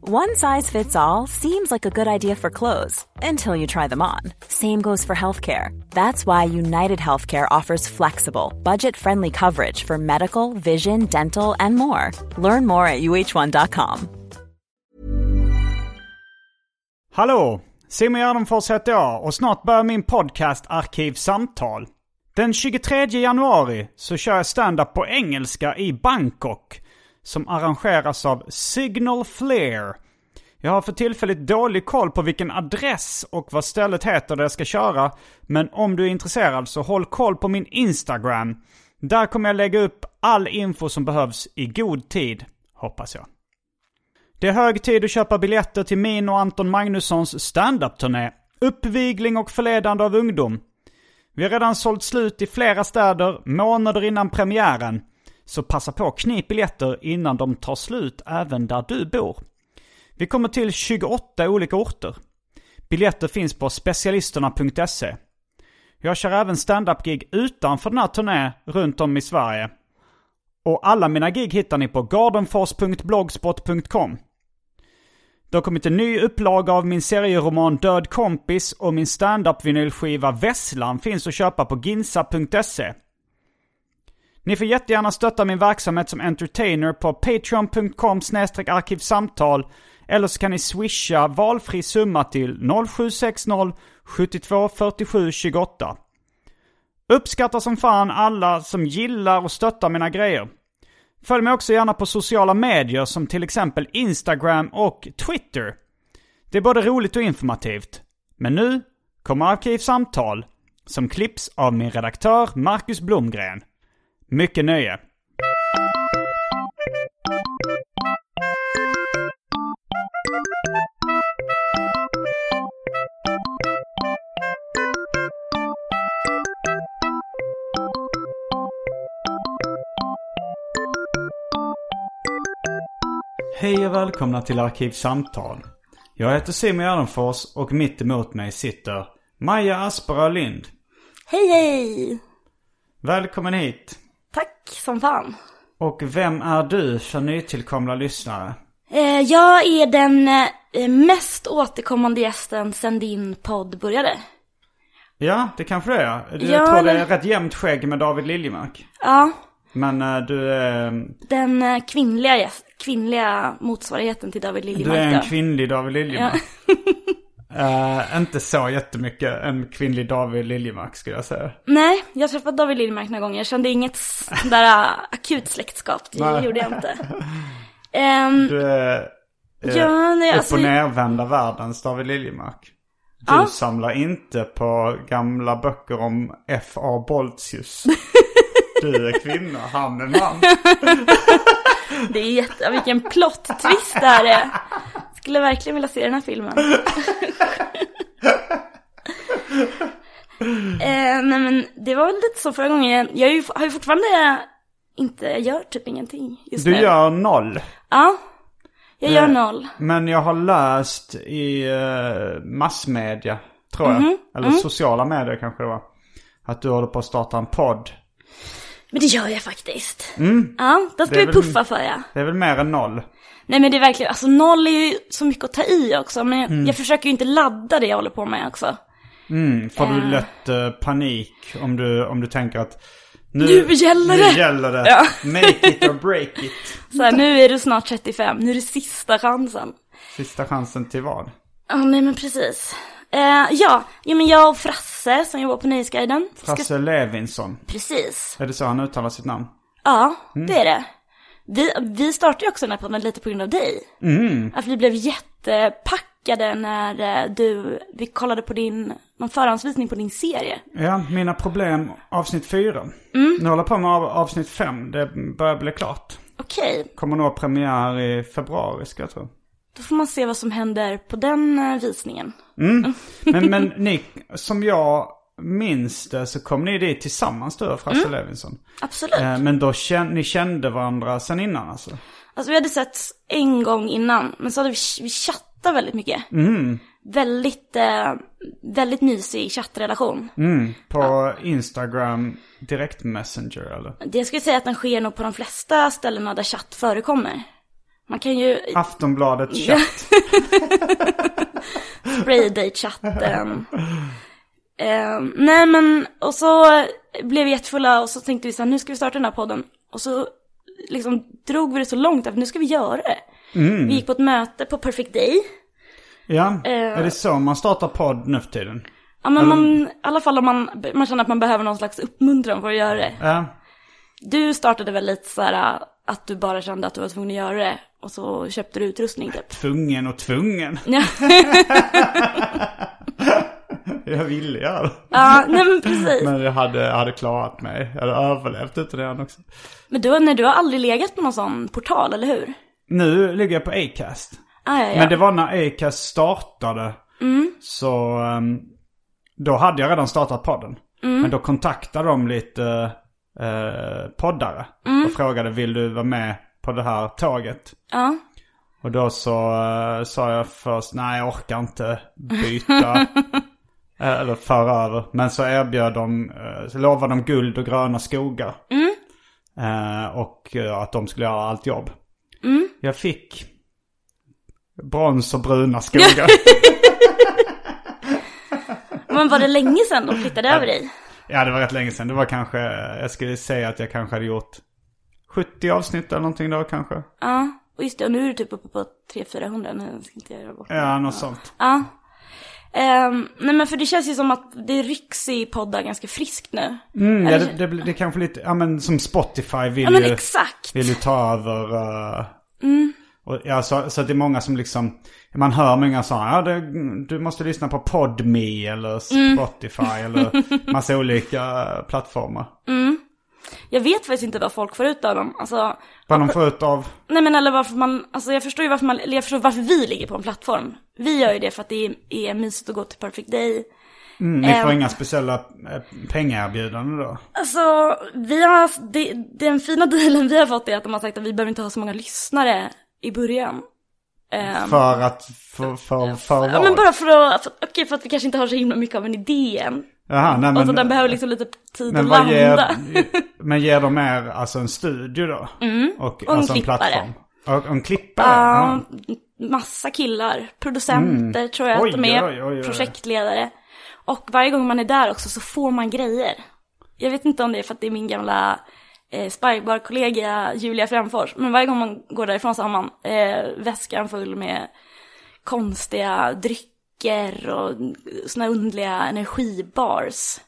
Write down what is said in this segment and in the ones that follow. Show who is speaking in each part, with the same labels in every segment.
Speaker 1: One size fits all seems like a good idea for clothes until you try them on. Same goes for healthcare. That's why United Healthcare offers flexible, budget friendly coverage for medical, vision, dental, and more. Learn more at uh1.com.
Speaker 2: Hallå! Simon Gärdenfors heter jag och snart börjar min podcast Arkivsamtal. Den 23 januari så kör jag stand-up på engelska i Bangkok som arrangeras av Signal Flare. Jag har för tillfället dålig koll på vilken adress och vad stället heter där jag ska köra men om du är intresserad så håll koll på min Instagram. Där kommer jag lägga upp all info som behövs i god tid, hoppas jag. Det är hög tid att köpa biljetter till min och Anton Magnussons standup-turné. Uppvigling och förledande av ungdom. Vi har redan sålt slut i flera städer månader innan premiären. Så passa på och knip biljetter innan de tar slut även där du bor. Vi kommer till 28 olika orter. Biljetter finns på specialisterna.se. Jag kör även standup-gig utanför den här turnén runt om i Sverige. Och alla mina gig hittar ni på gardenfors.blogspot.com. Det har kommit en ny upplaga av min serieroman Död kompis och min standup-vinylskiva Vesslan finns att köpa på ginsa.se. Ni får jättegärna stötta min verksamhet som entertainer på patreon.com arkivsamtal eller så kan ni swisha valfri summa till 0760 72 47 28. Uppskattar som fan alla som gillar och stöttar mina grejer. Följ mig också gärna på sociala medier som till exempel Instagram och Twitter. Det är både roligt och informativt. Men nu kommer Arkivsamtal som klipps av min redaktör Marcus Blomgren. Mycket nöje! Hej och välkomna till Arkivsamtal. Jag heter Simon Gärdenfors och mitt emot mig sitter Maja Asperö Lind.
Speaker 3: Hej hej!
Speaker 2: Välkommen hit.
Speaker 3: Tack som fan.
Speaker 2: Och vem är du för nytillkomna lyssnare?
Speaker 3: Eh, jag är den eh, mest återkommande gästen sen din podd började.
Speaker 2: Ja, det kanske du är. Du
Speaker 3: Ja,
Speaker 2: tror det är
Speaker 3: men-
Speaker 2: rätt jämnt skägg med David Liljemark.
Speaker 3: Ja,
Speaker 2: Men eh, du är,
Speaker 3: den eh, kvinnliga, gäst, kvinnliga motsvarigheten till David
Speaker 2: du är
Speaker 3: Liljemark
Speaker 2: en
Speaker 3: då.
Speaker 2: kvinnlig David Liljemark. Eh, inte så jättemycket en kvinnlig David Liljemark skulle jag säga.
Speaker 3: Nej, jag har träffat David Liljemark några gånger. Jag kände inget s- där eh, akut släktskap. Det
Speaker 2: Nej.
Speaker 3: gjorde jag inte. Ehm,
Speaker 2: Du är eh,
Speaker 3: ja, nej,
Speaker 2: upp
Speaker 3: alltså,
Speaker 2: och nervända världens David Liljemark. Du
Speaker 3: Ja.
Speaker 2: samlar inte på gamla böcker om F.A. Boltius. Du är kvinna, han är man.
Speaker 3: det är jätte... Vilken plott-twist det här är. Skulle verkligen vilja se den här filmen. eh, nej men det var väl lite så förra gången. Jag är ju, har ju fortfarande inte, jag gör typ ingenting just nu.
Speaker 2: Du gör noll.
Speaker 3: Ja. Jag gör
Speaker 2: Eh,
Speaker 3: noll.
Speaker 2: Men jag har läst i eh, massmedia, tror jag.
Speaker 3: Mhm.
Speaker 2: Eller
Speaker 3: Mm.
Speaker 2: sociala medier kanske det var. Att du håller på att starta en podd.
Speaker 3: Men det gör jag faktiskt. Ja, det ska
Speaker 2: Mm. är
Speaker 3: vi
Speaker 2: väl-
Speaker 3: puffa för ja.
Speaker 2: Det är väl mer än noll.
Speaker 3: Nej men det är verkligen, alltså noll är ju så mycket att ta i också. Men jag,
Speaker 2: Mm.
Speaker 3: jag försöker ju inte ladda det jag håller på med också.
Speaker 2: Mm, Får du lätt eh, panik om du, om du tänker att
Speaker 3: Nu gäller det!
Speaker 2: Nu gäller det!
Speaker 3: Ja.
Speaker 2: Make it or break it.
Speaker 3: Så här, nu är du snart 35, nu är det sista chansen.
Speaker 2: Sista chansen till vad?
Speaker 3: Ja, nej men precis. Eh, ja, jo, men jag och Frasse som jobbar på Nöjesguiden. ska-
Speaker 2: Frasse Levinson.
Speaker 3: Precis.
Speaker 2: Är det så han uttalar sitt namn?
Speaker 3: Ja,
Speaker 2: Mm.
Speaker 3: det är det. Vi, vi startade ju också den här podden lite på grund av dig.
Speaker 2: Mm.
Speaker 3: Att vi blev jättepackade när eh, du, vi kollade på din, någon förhandsvisning på din serie.
Speaker 2: Ja, Mina Problem avsnitt 4.
Speaker 3: Mm.
Speaker 2: Nu håller jag på med av, avsnitt 5. Det börjar bli klart.
Speaker 3: Okej,
Speaker 2: Kommer nog ha premiär i februari ska jag tro.
Speaker 3: Då får man se vad som händer på den eh, visningen.
Speaker 2: Men, men ni, som jag minns det så kom ni dit tillsammans du och Frasse Levinson.
Speaker 3: Absolut.
Speaker 2: Eh, Men då kände, ni kände varandra sen innan alltså?
Speaker 3: Alltså vi hade sett en gång innan, men så hade vi, vi chattat väldigt mycket.
Speaker 2: Mm.
Speaker 3: Väldigt, eh, väldigt mysig chattrelation.
Speaker 2: Mm, På Instagram direkt messenger eller?
Speaker 3: Det skulle jag säga att den sker nog på de flesta ställena där chatt förekommer. Man kan ju
Speaker 2: Aftonbladet chatt.
Speaker 3: spraydate-chatten. Eh, nej men, och så blev vi jättefulla och så tänkte vi så här, nu ska vi starta den här podden. Och så liksom drog vi det så långt att nu ska vi göra det. Vi gick på ett möte på Perfect Day.
Speaker 2: Ja, är det så man startar podd nu för tiden?
Speaker 3: Ja men man, i alla fall om man, man känner att man behöver någon slags uppmuntran för att göra det.
Speaker 2: Ja.
Speaker 3: Du startade väl lite så här äh, att du bara kände att du var tvungen att göra det och så köpte du utrustning typ.
Speaker 2: Tvungen och tvungen.
Speaker 3: Ja,
Speaker 2: Jag ville göra det.
Speaker 3: ja nej men precis. Men,
Speaker 2: Men jag hade, jag hade klarat mig. Jag hade överlevt utan den också.
Speaker 3: du, nej, du har aldrig legat på någon sån portal, eller hur?
Speaker 2: Nu ligger jag på Acast.
Speaker 3: Ah, ja, Mm. ja.
Speaker 2: Men det var när Acast startade. Så ehm, då hade jag redan startat podden.
Speaker 3: Mm.
Speaker 2: Men då kontaktade de lite eh, poddare.
Speaker 3: Mm.
Speaker 2: Och frågade vill du vara med på det här tåget?
Speaker 3: ja.
Speaker 2: Och då så eh, sa jag först nej jag orkar inte byta. eh, eller föra över. Men så erbjöd de, eh, så lovade de guld och gröna skogar.
Speaker 3: Mm.
Speaker 2: Eh, och eh, att de skulle göra allt jobb.
Speaker 3: Mm.
Speaker 2: Jag fick brons och bruna skogar.
Speaker 3: Men var det länge sedan de flyttade över dig?
Speaker 2: ja det var rätt länge sedan. Det var kanske, eh, jag skulle säga att jag kanske hade gjort 70 avsnitt eller någonting då kanske.
Speaker 3: Ja, och just det, och nu är du typ uppe på 300-400, nu ska inte jag göra bort mig.
Speaker 2: Ja något sånt.
Speaker 3: Ja. Ehm, nej men för det känns ju som att det rycks i poddar ganska friskt nu.
Speaker 2: Mm, ja, det, det, blir- det är kanske lite, ja men som Spotify vill
Speaker 3: Ja men
Speaker 2: ju...
Speaker 3: exakt.
Speaker 2: vill ju ta över. eh,
Speaker 3: Mm.
Speaker 2: och, ja, så, så att det är många som liksom, man hör många sådana, ja, det, du måste lyssna på Podme eller
Speaker 3: Mm.
Speaker 2: Spotify eller massa olika eh, plattformar.
Speaker 3: Jag vet faktiskt inte vad folk får ut av dem. Alltså,
Speaker 2: Vad de får ut av,
Speaker 3: Nej men eller varför man, alltså jag förstår ju varför man, eller jag förstår varför vi ligger på en plattform. Vi gör ju det för att det är, är mysigt att gå till Perfect Day.
Speaker 2: mm, ni får
Speaker 3: Ehm.
Speaker 2: inga speciella eh, pengaerbjudanden då?
Speaker 3: Alltså, vi har, det, den fina dealen vi har fått är att de har sagt att vi behöver inte ha så många lyssnare i början. Ehm,
Speaker 2: För att, för, för, för
Speaker 3: ja men
Speaker 2: vad?
Speaker 3: bara för att, för, okej för att vi kanske inte har så himla mycket av en idé än.
Speaker 2: Jaha, nej,
Speaker 3: och så den
Speaker 2: men,
Speaker 3: behöver liksom lite tid
Speaker 2: eh, men
Speaker 3: att
Speaker 2: vad
Speaker 3: landa.
Speaker 2: ger, men ger de er alltså en studio då? Och,
Speaker 3: Mm. en
Speaker 2: alltså en
Speaker 3: klippare.
Speaker 2: plattform? Och en klippare?
Speaker 3: Ja,
Speaker 2: Ja.
Speaker 3: massa killar, producenter tror jag
Speaker 2: Oj,
Speaker 3: att de är,
Speaker 2: oj, oj, oj.
Speaker 3: projektledare. Och varje gång man är där också så får man grejer. Jag vet inte om det är för att det är min gamla eh, sparkbar-kollega Julia Framfors, men varje gång man går därifrån så har man eh, väskan full med konstiga drycker och såna underliga energibars.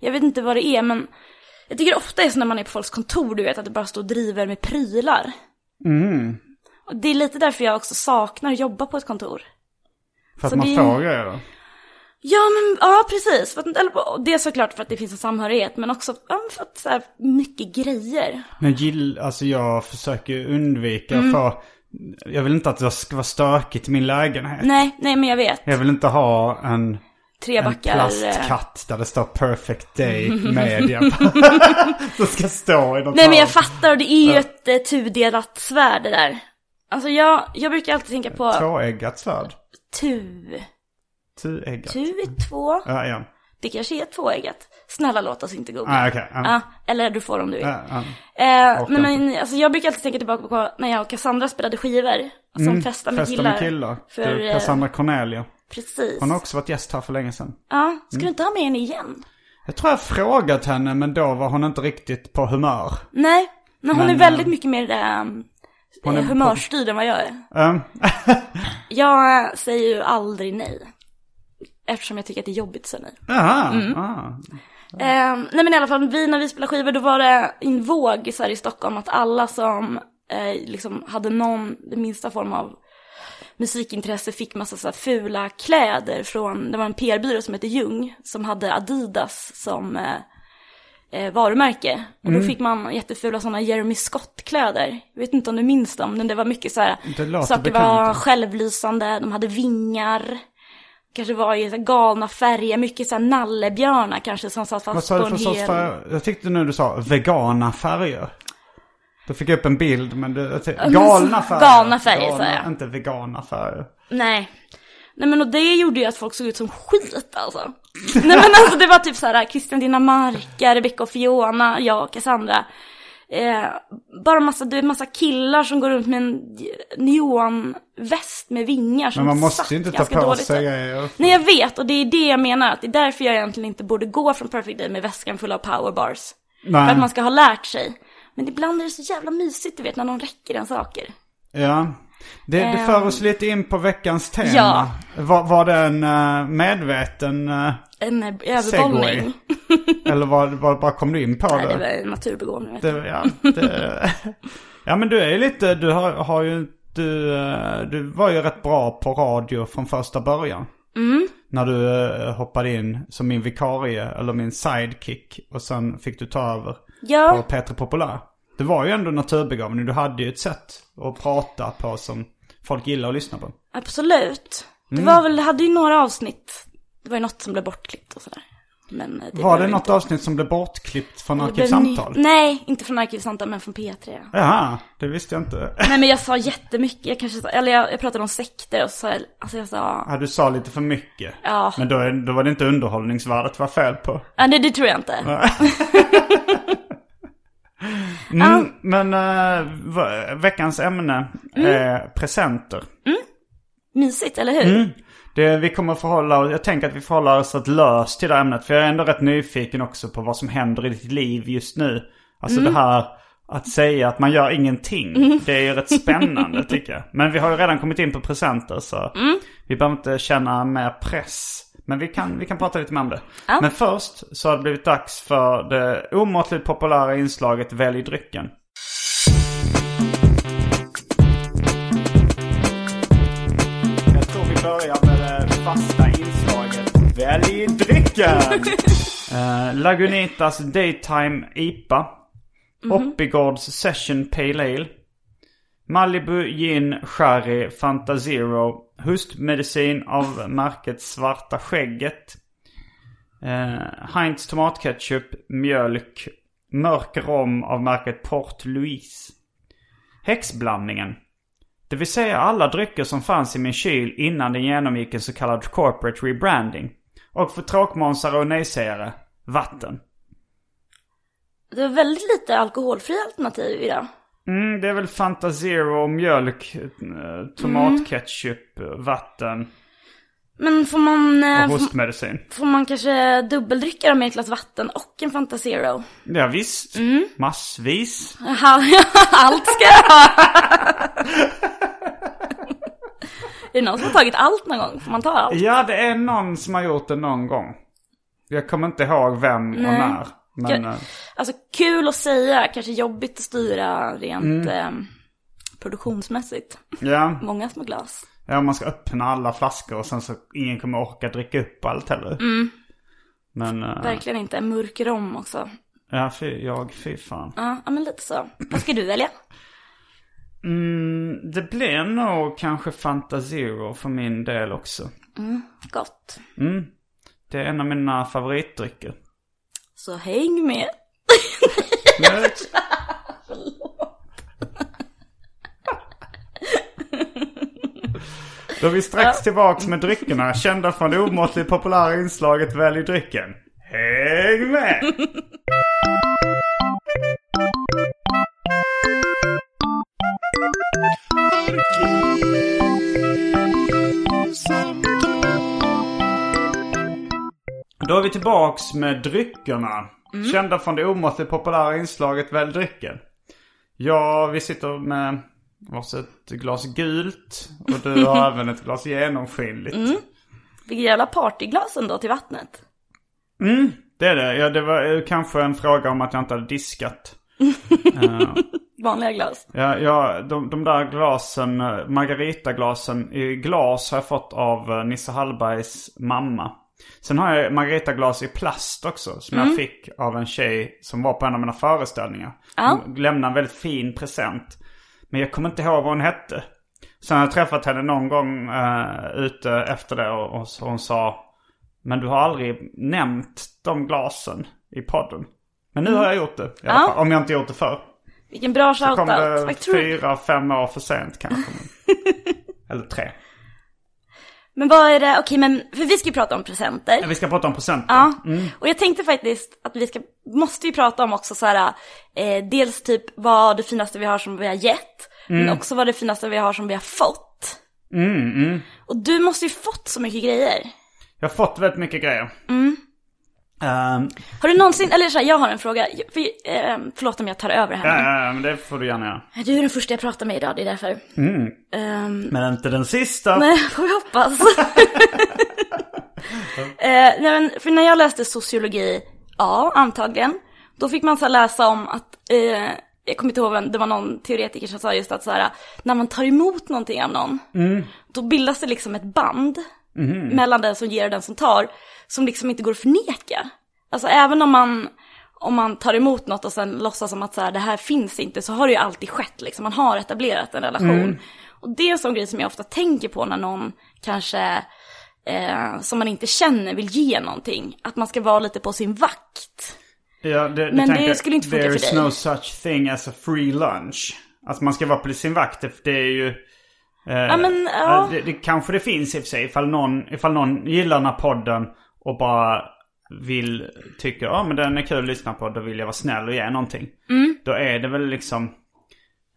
Speaker 3: Jag vet inte vad det är, men jag tycker det ofta är så när man är på folks kontor, du vet, att det bara står och driver med prylar.
Speaker 2: Mm.
Speaker 3: Och det är lite därför jag också saknar att jobba på ett kontor.
Speaker 2: För att
Speaker 3: så
Speaker 2: man
Speaker 3: det-
Speaker 2: får grejer då?
Speaker 3: Ja, men ja, precis. För att, eller, det är såklart för att det finns en samhörighet, men också ja, men för att så här, mycket grejer.
Speaker 2: Men gill, alltså jag försöker ju undvika
Speaker 3: Mm.
Speaker 2: för jag vill inte att det ska vara stökigt i min lägenhet.
Speaker 3: Nej, nej, men jag vet.
Speaker 2: Jag vill inte ha en,
Speaker 3: Tre
Speaker 2: en
Speaker 3: backar. eh,
Speaker 2: plastkatt där det står perfect day media på. Som ska stå i något
Speaker 3: Nej men jag
Speaker 2: hörn.
Speaker 3: fattar och det är ju ett eh, tudelat svärd det där. Alltså jag, jag brukar alltid tänka på
Speaker 2: Tvåeggat svärd.
Speaker 3: tu.
Speaker 2: Tueggat.
Speaker 3: Tu är två.
Speaker 2: Ja, ja.
Speaker 3: Det kanske är tvåeggat. Snälla låt oss inte googla.
Speaker 2: Ah, okej. Ja.
Speaker 3: Ja, eller du får om du vill.
Speaker 2: Ja, ja.
Speaker 3: Eh,
Speaker 2: Orkar
Speaker 3: men men alltså, jag brukar alltid tänka tillbaka på när jag och Cassandra spelade skivor. Som festa med
Speaker 2: Festa
Speaker 3: killar.
Speaker 2: Mm, med killar.
Speaker 3: För,
Speaker 2: Du,
Speaker 3: eh,
Speaker 2: Cassandra Cornelia.
Speaker 3: Precis.
Speaker 2: Hon har också Mm. varit gäst här för länge sedan.
Speaker 3: Ja, ska du inte ha med henne igen?
Speaker 2: Jag tror jag frågat henne men då var hon inte riktigt på humör.
Speaker 3: Nej, men hon
Speaker 2: Men,
Speaker 3: är väldigt
Speaker 2: eh,
Speaker 3: mycket mer um,
Speaker 2: hon är på-
Speaker 3: humörstyrd än vad jag är.
Speaker 2: Ehm,
Speaker 3: Jag eh, säger ju aldrig nej. Eftersom jag tycker att det är jobbigt att säga nej.
Speaker 2: Jaha.
Speaker 3: Mm.
Speaker 2: ah.
Speaker 3: Ehm, nej men i alla fall, vi, när vi spelade skivor då var det en våg så här i Stockholm att alla som eh, liksom hade någon, den minsta form av musikintresse fick massa så här fula kläder från, det var en PR-byrå som hette Jung som hade Adidas som eh, eh, varumärke. Och då fick man jättefula sådana Jeremy Scott-kläder. Jag vet inte om du minns dem, men det var mycket så här.
Speaker 2: Det låter
Speaker 3: saker
Speaker 2: bekant.
Speaker 3: var självlysande, de hade vingar. Kanske var i så här galna färger, mycket så här nallebjörnar kanske som satt
Speaker 2: Vad
Speaker 3: fast
Speaker 2: sa
Speaker 3: på
Speaker 2: du för
Speaker 3: en
Speaker 2: sorts
Speaker 3: hel...
Speaker 2: färger? Jag tyckte nu du sa vegana färger. Då fick jag upp en bild, men du, jag tyckte,
Speaker 3: men
Speaker 2: galna
Speaker 3: så-
Speaker 2: färger.
Speaker 3: galna färger, sa jag.
Speaker 2: Inte vegana färger.
Speaker 3: Nej. Nej men och det gjorde ju att folk såg ut som skit alltså. Nej men alltså det var typ så här Christian Dinamarca, Rebecca och Fiona, jag och Cassandra. Eh, bara massa, du vet, massa killar som går runt med en neonväst med vingar som
Speaker 2: Men man måste
Speaker 3: satt
Speaker 2: ju inte ta
Speaker 3: ganska
Speaker 2: på
Speaker 3: dåligt.
Speaker 2: sig grejer.
Speaker 3: Nej jag vet och det är det jag menar, att det är därför jag egentligen inte borde gå från Perfect Day med väskan full av powerbars. För att man
Speaker 2: Nej.
Speaker 3: ska ha lärt sig. Men ibland är det så jävla mysigt du vet när någon räcker en saker.
Speaker 2: Ja. Det, det för oss lite in på veckans tema.
Speaker 3: Ehm. Ja.
Speaker 2: Var, var det en eh, medveten... eh,
Speaker 3: En eh, överbollning.
Speaker 2: eller var, var, bara kom du in på
Speaker 3: Nej, det var
Speaker 2: det?
Speaker 3: en naturbegåvning. vet du.
Speaker 2: det, ja, det ja, men du är ju lite... Du har, har ju... Du, eh, du var ju rätt bra på radio från första början.
Speaker 3: Mm.
Speaker 2: När du eh, hoppade in som min vikarie eller min sidekick och sen fick du ta över på
Speaker 3: Ja,
Speaker 2: Peter Populär. Det var ju ändå naturbegåvning. Du hade ju ett sätt att prata på som folk gillar att lyssna på.
Speaker 3: absolut. Det
Speaker 2: Mm.
Speaker 3: var väl, det hade ju några avsnitt. Det var ju något som blev bortklippt och sådär. Men eh, det
Speaker 2: Var det
Speaker 3: blev
Speaker 2: något
Speaker 3: inte-
Speaker 2: avsnitt som blev bortklippt från
Speaker 3: det blev
Speaker 2: Arkivsamtal?
Speaker 3: ny- Nej, inte från Arkivsamtal men från P3.
Speaker 2: Jaha, det visste jag inte.
Speaker 3: Nej men jag sa jättemycket, jag kanske sa, eller jag, jag pratade om sekter och så sa jag, alltså jag sa,
Speaker 2: Ja, du sa lite för mycket.
Speaker 3: Ja.
Speaker 2: Men då, är- då var det inte underhållningsvärdet var fel på.
Speaker 3: ja, nej det tror jag inte.
Speaker 2: Mm, Men eh, v- veckans ämne är presenter.
Speaker 3: Mysigt, eller hur?
Speaker 2: Mm. Det, vi kommer förhålla oss, jag tänker att vi förhåller oss rätt löst till det här ämnet. För jag är ändå rätt nyfiken också på vad som händer i ditt liv just nu. Alltså det här att säga att man gör ingenting. Det är ju rätt spännande tycker jag. Men vi har ju redan kommit in på presenter så vi behöver inte känna mer press. Men vi kan, vi kan prata lite mer om det. Men först så har det blivit dags för det omåttligt populära inslaget Välj drycken. Jag tror vi börjar med det fasta inslaget. Välj drycken! Eh, Lagunitas Daytime IPA. Oppigårds Session Pale Ale. Malibu Gin Sherry Fanta Zero. Hustmedicin av märket Svarta Skägget. Eh, Heinz Tomatketchup. Mjölk. Mörk rom av märket Port Louise. Häxblandningen. Det vill säga alla drycker som fanns i min kyl innan den genomgick en så kallad corporate rebranding. Och för tråkmånsare och nejsägare, vatten.
Speaker 3: Det var väldigt lite alkoholfria alternativ idag.
Speaker 2: Mm, det är väl Fanta Zero, mjölk, eh, tomatketchup, eh, vatten
Speaker 3: Men får man, eh,
Speaker 2: och
Speaker 3: får,
Speaker 2: hostmedicin.
Speaker 3: får man kanske dubbeldricka dem med ett glas vatten och en Fanta Zero?
Speaker 2: Ja, visst. Massvis.
Speaker 3: Aha, allt ska jag ha! Är det någon som har tagit allt någon gång? Får man ta allt?
Speaker 2: Ja, det är någon som har gjort det någon gång. Jag kommer inte ihåg vem och när. Men
Speaker 3: Jag-
Speaker 2: eh,
Speaker 3: Alltså kul att säga, kanske jobbigt att styra
Speaker 2: Mm.
Speaker 3: rent eh, produktionsmässigt.
Speaker 2: ja,
Speaker 3: Många små glas.
Speaker 2: ja, man ska öppna alla flaskor och sen så ingen kommer orka dricka upp allt heller. Men, eh,
Speaker 3: Verkligen inte, mörk rom också.
Speaker 2: ja, fy, jag, fy fan.
Speaker 3: Ja, ja, men lite så. Vad ska du välja?
Speaker 2: Mm, det blir nog kanske Fanta Zero för min del också.
Speaker 3: Gott.
Speaker 2: Det är en av mina favoritdrycker.
Speaker 3: Så häng med.
Speaker 2: Då är vi strax tillbaks med dryckerna, kända från det omåttligt populära inslaget Välj drycken. Häng med! Då är vi tillbaks med dryckerna. Kända från det omåttligt populära inslaget Välj drycken. Ja, vi sitter med varsitt glas gult och du har även ett glas genomskinligt.
Speaker 3: Vilket jävla partyglas ändå till vattnet.
Speaker 2: Det är det. Ja, det var eh, kanske en fråga om att jag inte hade diskat.
Speaker 3: Vanliga glas.
Speaker 2: Ja, ja, de, de där glasen, eh, margaritaglasen i glas har jag fått av eh, Nisse Hallbergs mamma. Sen har jag Margareta-glas i plast också. Som
Speaker 3: Mm.
Speaker 2: jag fick av en tjej som var på en av mina föreställningar.
Speaker 3: Ja.
Speaker 2: Hon lämnade en väldigt fin present. Men jag kommer inte ihåg vad hon hette. Sen har jag träffat henne någon gång eh, ute efter det och, och så hon sa Men du har aldrig nämnt de glasen i podden. Men nu har jag gjort det. I alla
Speaker 3: Ja.
Speaker 2: fall, om jag inte gjort det förr.
Speaker 3: Vilken bra
Speaker 2: Så kom
Speaker 3: shoutout.
Speaker 2: det
Speaker 3: Jag tror-
Speaker 2: fyra, fem år för sent kanske. Eller tre.
Speaker 3: Men vad är det, okej men, för vi ska ju prata om presenter.
Speaker 2: Vi ska prata om procenten.
Speaker 3: Ja, och jag tänkte faktiskt att vi ska, måste ju prata om också så här, eh, dels typ vad det finaste vi har som vi har gett, men också vad det finaste vi har som vi har fått. Och du måste ju fått så mycket grejer.
Speaker 2: Jag har fått väldigt mycket grejer.
Speaker 3: Mm.
Speaker 2: Ehm,
Speaker 3: Har du någonsin, eller så här, jag har en fråga, Jag- för, eh, förlåt om jag tar över här nu.
Speaker 2: ehm, det får du gärna göra.
Speaker 3: Du är den första jag pratar med idag, det är därför. Ehm,
Speaker 2: Men inte den sista.
Speaker 3: Nej, får vi hoppas. eh, nej, men för när jag läste sociologi A, antagligen, då fick man så här läsa om att, eh, jag kommer inte ihåg vem, det var någon teoretiker som sa just att så här, när man tar emot någonting av någon, då bildas det liksom ett band mellan den som ger och den som tar, som liksom inte går att förneka. Alltså även om man, om man tar emot något och sen låtsas som att så här, det här finns inte, så har det ju alltid skett liksom. Man har etablerat en relation. Och det är en sån grej som jag ofta tänker på när någon kanske, eh, som man inte känner, vill ge någonting. Att man ska vara lite på sin vakt.
Speaker 2: Ja, det,
Speaker 3: Men det
Speaker 2: tänker jag,
Speaker 3: skulle inte funka
Speaker 2: there
Speaker 3: för
Speaker 2: is
Speaker 3: dig.
Speaker 2: no such thing as a free lunch. Att man ska vara på sin vakt, det- det är ju...
Speaker 3: Ja men, ja.
Speaker 2: Det, det kanske det finns i och för sig ifall någon, ifall någon gillar den här podden och bara vill tycka ja men den är kul att lyssna på, då vill jag vara snäll och ge någonting.
Speaker 3: Mm.
Speaker 2: Då är det väl liksom...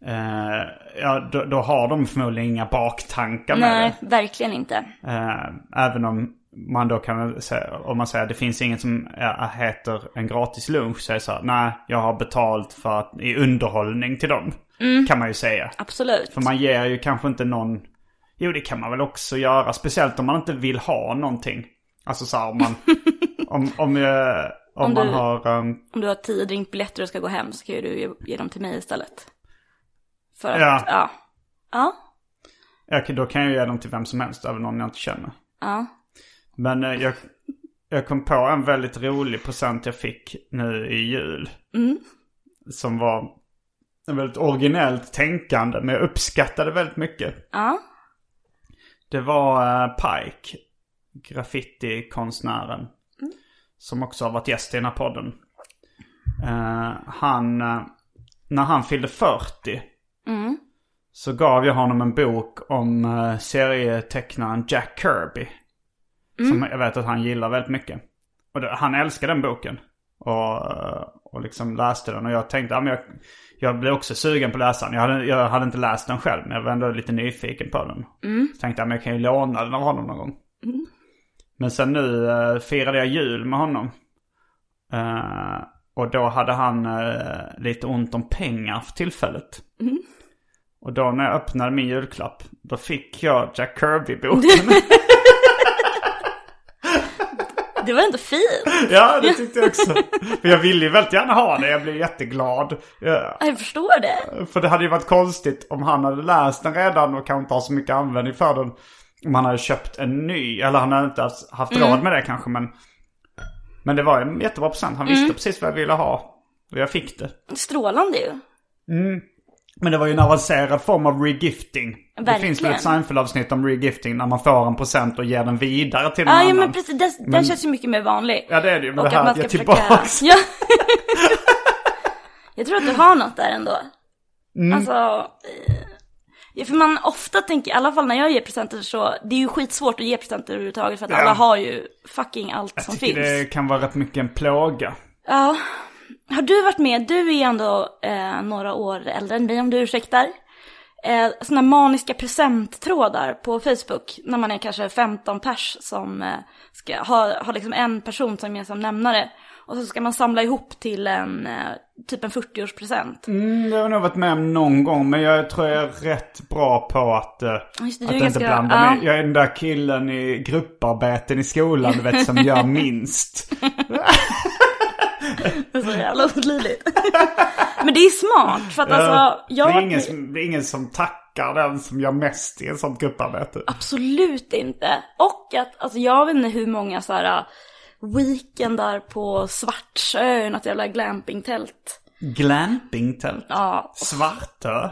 Speaker 2: eh, ja, då, då har de förmodligen inga baktankar med det.
Speaker 3: Nej, verkligen inte.
Speaker 2: Eh, även om man då kan säga, om man säger det finns ingen som eh, heter en gratis lunch så är det så här, nej jag har betalt för att, i underhållning till dem.
Speaker 3: Mm.
Speaker 2: Kan man ju säga.
Speaker 3: Absolut.
Speaker 2: För man ger ju kanske inte någon, jo det kan man väl också göra, speciellt om man inte vill ha någonting. Alltså så här, om man, om, om, eh, om,
Speaker 3: Om
Speaker 2: man
Speaker 3: du-
Speaker 2: har, ehm,
Speaker 3: Om du har tio drinkbiljetter och ska gå hem så kan ju du ge, ge dem till mig istället. För att,
Speaker 2: Ja.
Speaker 3: ja. Ja. Ja.
Speaker 2: ja, då kan jag ge dem till vem som helst, även någon jag inte känner. Men eh, jag, jag kom på en väldigt rolig present jag fick nu i jul.
Speaker 3: Mm.
Speaker 2: Som var en väldigt originellt tänkande, men jag uppskattade väldigt mycket.
Speaker 3: Ja.
Speaker 2: Det var eh, Pike, graffitikonstnären. Som också har varit gäst i den här podden. Eh, han, eh, när han fyllde 40
Speaker 3: Mm.
Speaker 2: så gav jag honom en bok om eh, serietecknaren Jack Kirby. Som jag vet att han gillar väldigt mycket. Och det, han älskar den boken. Och, eh, och liksom läste den. Och jag tänkte, ja, men jag, jag blev också sugen på att läsa den. Jag hade, jag hade inte läst den själv, men jag var ändå lite nyfiken på den. Så tänkte jag, men jag kan ju låna den av honom någon gång. Men sen nu eh, firade jag jul med honom. Eh, och då hade han eh, lite ont om pengar för tillfället. Och då när jag öppnade min julklapp, då fick jag Jack Kirby-boken.
Speaker 3: Det var ändå fint.
Speaker 2: ja, det tyckte jag också. För jag ville ju väldigt gärna ha det, jag blev jätteglad. Ja,
Speaker 3: Jag förstår det.
Speaker 2: För det hade ju varit konstigt om han hade läst den redan och kanske inte har så mycket användning för den. Om han hade köpt en ny, eller han hade inte haft- haft
Speaker 3: Mm.
Speaker 2: råd med det kanske men... Men det var en jättebra present, han
Speaker 3: Mm.
Speaker 2: visste precis vad jag ville ha. Och jag fick det.
Speaker 3: Strålande ju.
Speaker 2: Men det var ju en avancerad form av regifting. Det
Speaker 3: Verkligen.
Speaker 2: finns väl ett Seinfeld-avsnitt om regifting när man får en present och ger den vidare till någon
Speaker 3: Ah, Ja, ja
Speaker 2: annan.
Speaker 3: men precis. Den, den känns ju mycket mer vanlig.
Speaker 2: Ja, det är det ju, men
Speaker 3: Och
Speaker 2: det
Speaker 3: att
Speaker 2: här
Speaker 3: man
Speaker 2: är
Speaker 3: ska
Speaker 2: tillbaks.
Speaker 3: försöka... Ja. jag tror att du har något där ändå.
Speaker 2: Mm.
Speaker 3: Alltså... eh, ja, För man ofta tänker, i alla fall när jag ger presenter så, det är ju skitsvårt att ge presenter överhuvudtaget för att
Speaker 2: Ja.
Speaker 3: alla har ju fucking allt som
Speaker 2: Jag tycker
Speaker 3: finns.
Speaker 2: det kan vara rätt mycket en plåga.
Speaker 3: Ja. Har du varit med, du är ändå eh, några år äldre än mig om du ursäktar. Eh, såna maniska presenttrådar på Facebook när man är kanske 15 pers som eh, ska ha, har liksom en person som gemensam nämnare. Och så ska man samla ihop till en, eh, typ en 40-årspresent.
Speaker 2: Mm, Jag har nog varit med om någon gång, men jag tror jag är rätt bra på att, eh,
Speaker 3: Just det,
Speaker 2: att
Speaker 3: du
Speaker 2: inte
Speaker 3: är ganska-
Speaker 2: blanda
Speaker 3: ja.
Speaker 2: mig. Jag är den där killen i grupparbeten i skolan, du vet, som gör minst.
Speaker 3: Det är så jävla olidligt. Men det är smart för att alltså, jag
Speaker 2: det,
Speaker 3: har
Speaker 2: är
Speaker 3: varit
Speaker 2: ingen,
Speaker 3: med-
Speaker 2: som- det är ingen som tackar den som gör mest i ett sånt grupparbete.
Speaker 3: Absolut inte. Och att, alltså jag vet inte hur många så här uh, weekendar på Svartsö, något jävla glampingtält.
Speaker 2: Glampingtält.
Speaker 3: Ja,
Speaker 2: Svartö.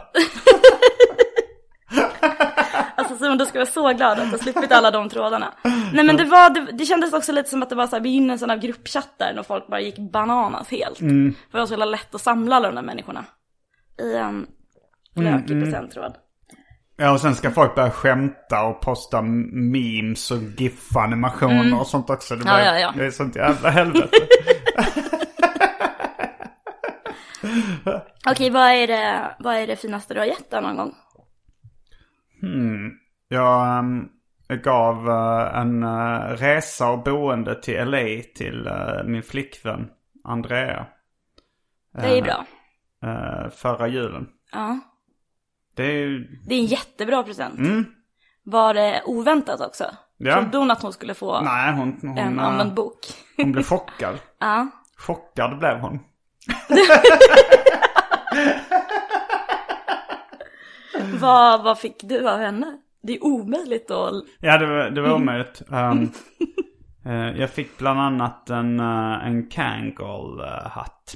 Speaker 3: alltså Simon du ska vara så glad att du har sluppit alla de trådarna. Nej men det var, det, det kändes också lite som att det var så här begynnelsen av gruppchattar när folk bara gick bananas helt. För det var så jävla lätt att samla alla de där människorna. I en lökig presenttråd.
Speaker 2: Ja, och sen ska folk börja skämta och posta memes och GIF-animationer och sånt också. Det,
Speaker 3: Mm. Ja,
Speaker 2: blir-
Speaker 3: ja, ja.
Speaker 2: det är sånt jävla helvete.
Speaker 3: Okej, vad är det, vad är det finaste du har gett där någon gång?
Speaker 2: Hmm. Jag ehm, gav eh, en eh, resa och boende till LA till eh, min flickvän Andrea
Speaker 3: Det är bra.
Speaker 2: eh, förra julen.
Speaker 3: Ja.
Speaker 2: Det är ju... hmm.
Speaker 3: Det är en jättebra present. Var det oväntat också?
Speaker 2: Ja.
Speaker 3: Trodde hon att hon skulle få
Speaker 2: Nej, hon, hon,
Speaker 3: en
Speaker 2: eh,
Speaker 3: använd bok?
Speaker 2: hon blev chockad.
Speaker 3: Ja.
Speaker 2: Chockad blev hon.
Speaker 3: Vad, vad fick du av henne? Det är omöjligt att...
Speaker 2: Ja, det var, det var omöjligt. Ehm, eh, jag fick bland annat en, eh, en eh, Kangol-hatt.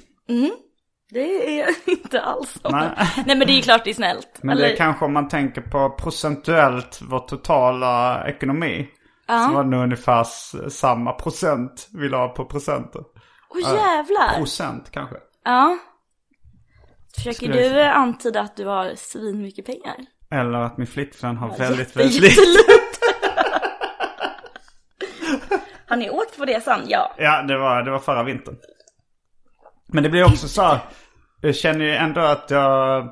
Speaker 3: Det är inte alls så.
Speaker 2: Nej.
Speaker 3: Nej men det är ju klart det är snällt.
Speaker 2: Men det är kanske om man tänker på procentuellt vår totala ekonomi. Så var det nog ungefär s- samma procent vi la på presenter.
Speaker 3: Åh jävlar!
Speaker 2: Procent kanske.
Speaker 3: Ja. Försöker
Speaker 2: Skulle jag
Speaker 3: du antyda att du har svin mycket pengar?
Speaker 2: Eller att min flickvän har väldigt,
Speaker 3: Jätte-
Speaker 2: väldigt lite.
Speaker 3: jättelite. Har ni åkt på resan? Ja.
Speaker 2: Ja, det var, det var förra vintern. Men det blir också så här. Jag känner ju ändå att jag...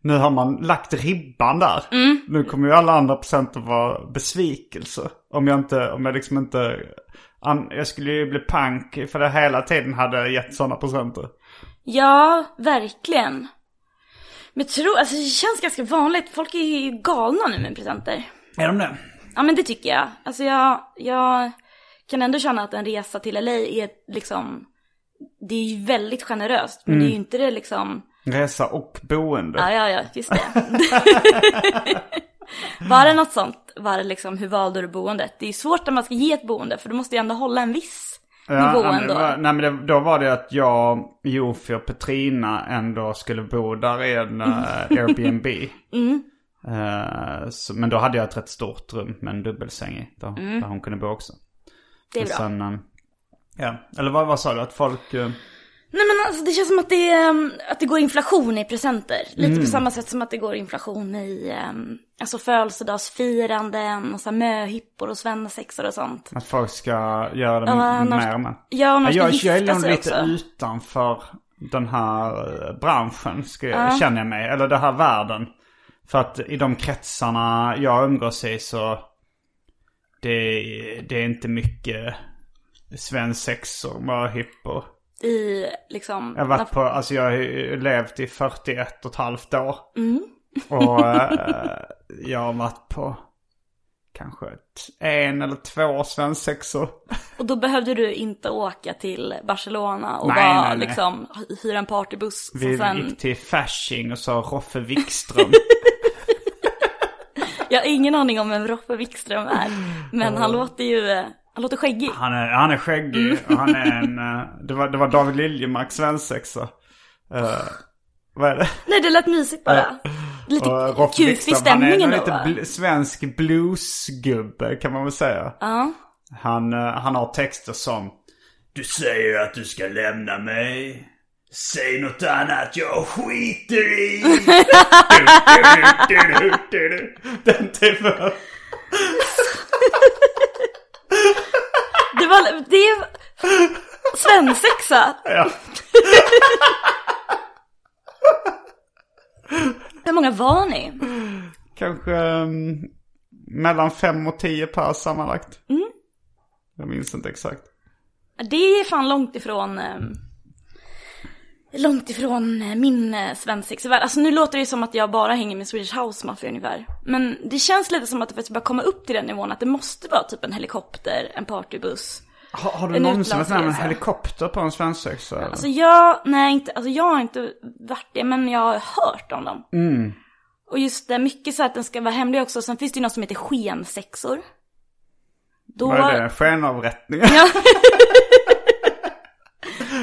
Speaker 2: Nu har man lagt ribban där. Nu kommer ju alla andra procent att vara besvikelse. Om jag inte, om jag liksom inte... an- Jag skulle ju bli pank för det hela tiden hade gett sådana procenter.
Speaker 3: Ja, verkligen. Men tro, alltså det känns ganska vanligt. Folk är ju galna nu med presenter.
Speaker 2: Är de det?
Speaker 3: Ja men det tycker jag. Alltså jag, jag kan ändå känna att en resa till LA är liksom, det är ju väldigt generöst. Men det är ju inte det liksom,
Speaker 2: Resa och boende.
Speaker 3: ja ja ja, just det. var det något sånt? Var det liksom, hur valde du boendet? Det är ju svårt när man ska ge ett boende för du måste ju ändå hålla en viss nivå
Speaker 2: nej, men
Speaker 3: ändå.
Speaker 2: det var- Nej men det, då var det att jag, Jofi och Petrina ändå skulle bo där i
Speaker 3: Mm.
Speaker 2: en eh, Airbnb. Mm. Eh, så, men då hade jag ett rätt stort rum med en dubbelsäng i. Där, där hon kunde bo också.
Speaker 3: Mm. Det är
Speaker 2: Och
Speaker 3: bra.
Speaker 2: sen, eh, ja. Eller vad, vad sa du? Att folk... eh,
Speaker 3: Nej men alltså det känns som att det, ehm, att det går inflation i presenter. Lite
Speaker 2: Mm.
Speaker 3: på samma sätt som att det går inflation i ehm, alltså födelsedagsfiranden och så här möhippor och sexor och sånt.
Speaker 2: att folk ska göra det
Speaker 3: Ja, annars-
Speaker 2: mer och mer.
Speaker 3: Ja, man ska
Speaker 2: jag,
Speaker 3: gifta
Speaker 2: jag är nog
Speaker 3: sig
Speaker 2: lite
Speaker 3: också.
Speaker 2: utanför den här eh, branschen, ska jag, känner jag mig. Eller den här världen. För att i de kretsarna jag umgås i så... Det, det är inte mycket svensexor, möhippor.
Speaker 3: I liksom...
Speaker 2: Jag har varit på, alltså jag har ju levt i 41 och ett halvt år.
Speaker 3: Mm.
Speaker 2: Och eh, jag har varit på kanske ett, en eller två svensexor.
Speaker 3: Och då behövde du inte åka till Barcelona och
Speaker 2: Nej,
Speaker 3: bara
Speaker 2: nej, nej.
Speaker 3: liksom hyra en partybuss som
Speaker 2: Vi
Speaker 3: sen...
Speaker 2: gick till Fasching och sa Roffe Wikström.
Speaker 3: Jag har ingen aning om vem Roffe Wikström är. Men han låter ju... eh, Han låter skäggig.
Speaker 2: Han är, han är skäggig och han är en... eh, Det var, det var David Liljemarks svensexa. Eh, vad är det?
Speaker 3: Nej det lät mysigt bara. Lite
Speaker 2: Och Roffe
Speaker 3: kufig
Speaker 2: Wikström, han är
Speaker 3: stämningen
Speaker 2: en
Speaker 3: då
Speaker 2: lite
Speaker 3: va?
Speaker 2: bl- svensk bluesgubbe kan man väl säga.
Speaker 3: Ja.
Speaker 2: Han, eh, han har texter som Du säger att du ska lämna mig. Säg något annat jag skiter i. Du, du, du, du, du, du. Den typen.
Speaker 3: Det var, det är svensexa.
Speaker 2: Ja.
Speaker 3: Hur många var ni?
Speaker 2: Kanske ehm, mellan fem och tio per sammanlagt.
Speaker 3: Mm.
Speaker 2: Jag minns inte exakt.
Speaker 3: Det är fan långt ifrån eh, Långt ifrån eh, min eh, svensexvärld. Alltså nu låter det ju som att jag bara hänger med Swedish House Mafia ungefär. Men det känns lite som att det faktiskt börjar komma upp till den nivån att det måste vara typ en helikopter, en partybuss.
Speaker 2: Har, har du
Speaker 3: En
Speaker 2: någonsin varit med om en
Speaker 3: utlandsresa.
Speaker 2: helikopter på en svensexa? eller?
Speaker 3: Alltså jag, nej inte, alltså jag har inte varit det, men jag har hört om dem.
Speaker 2: Mm.
Speaker 3: Och just det, mycket så att den ska vara hemlig också. Sen finns det ju något som heter skensexor. Då,
Speaker 2: Vad är det? Skenavrättningar?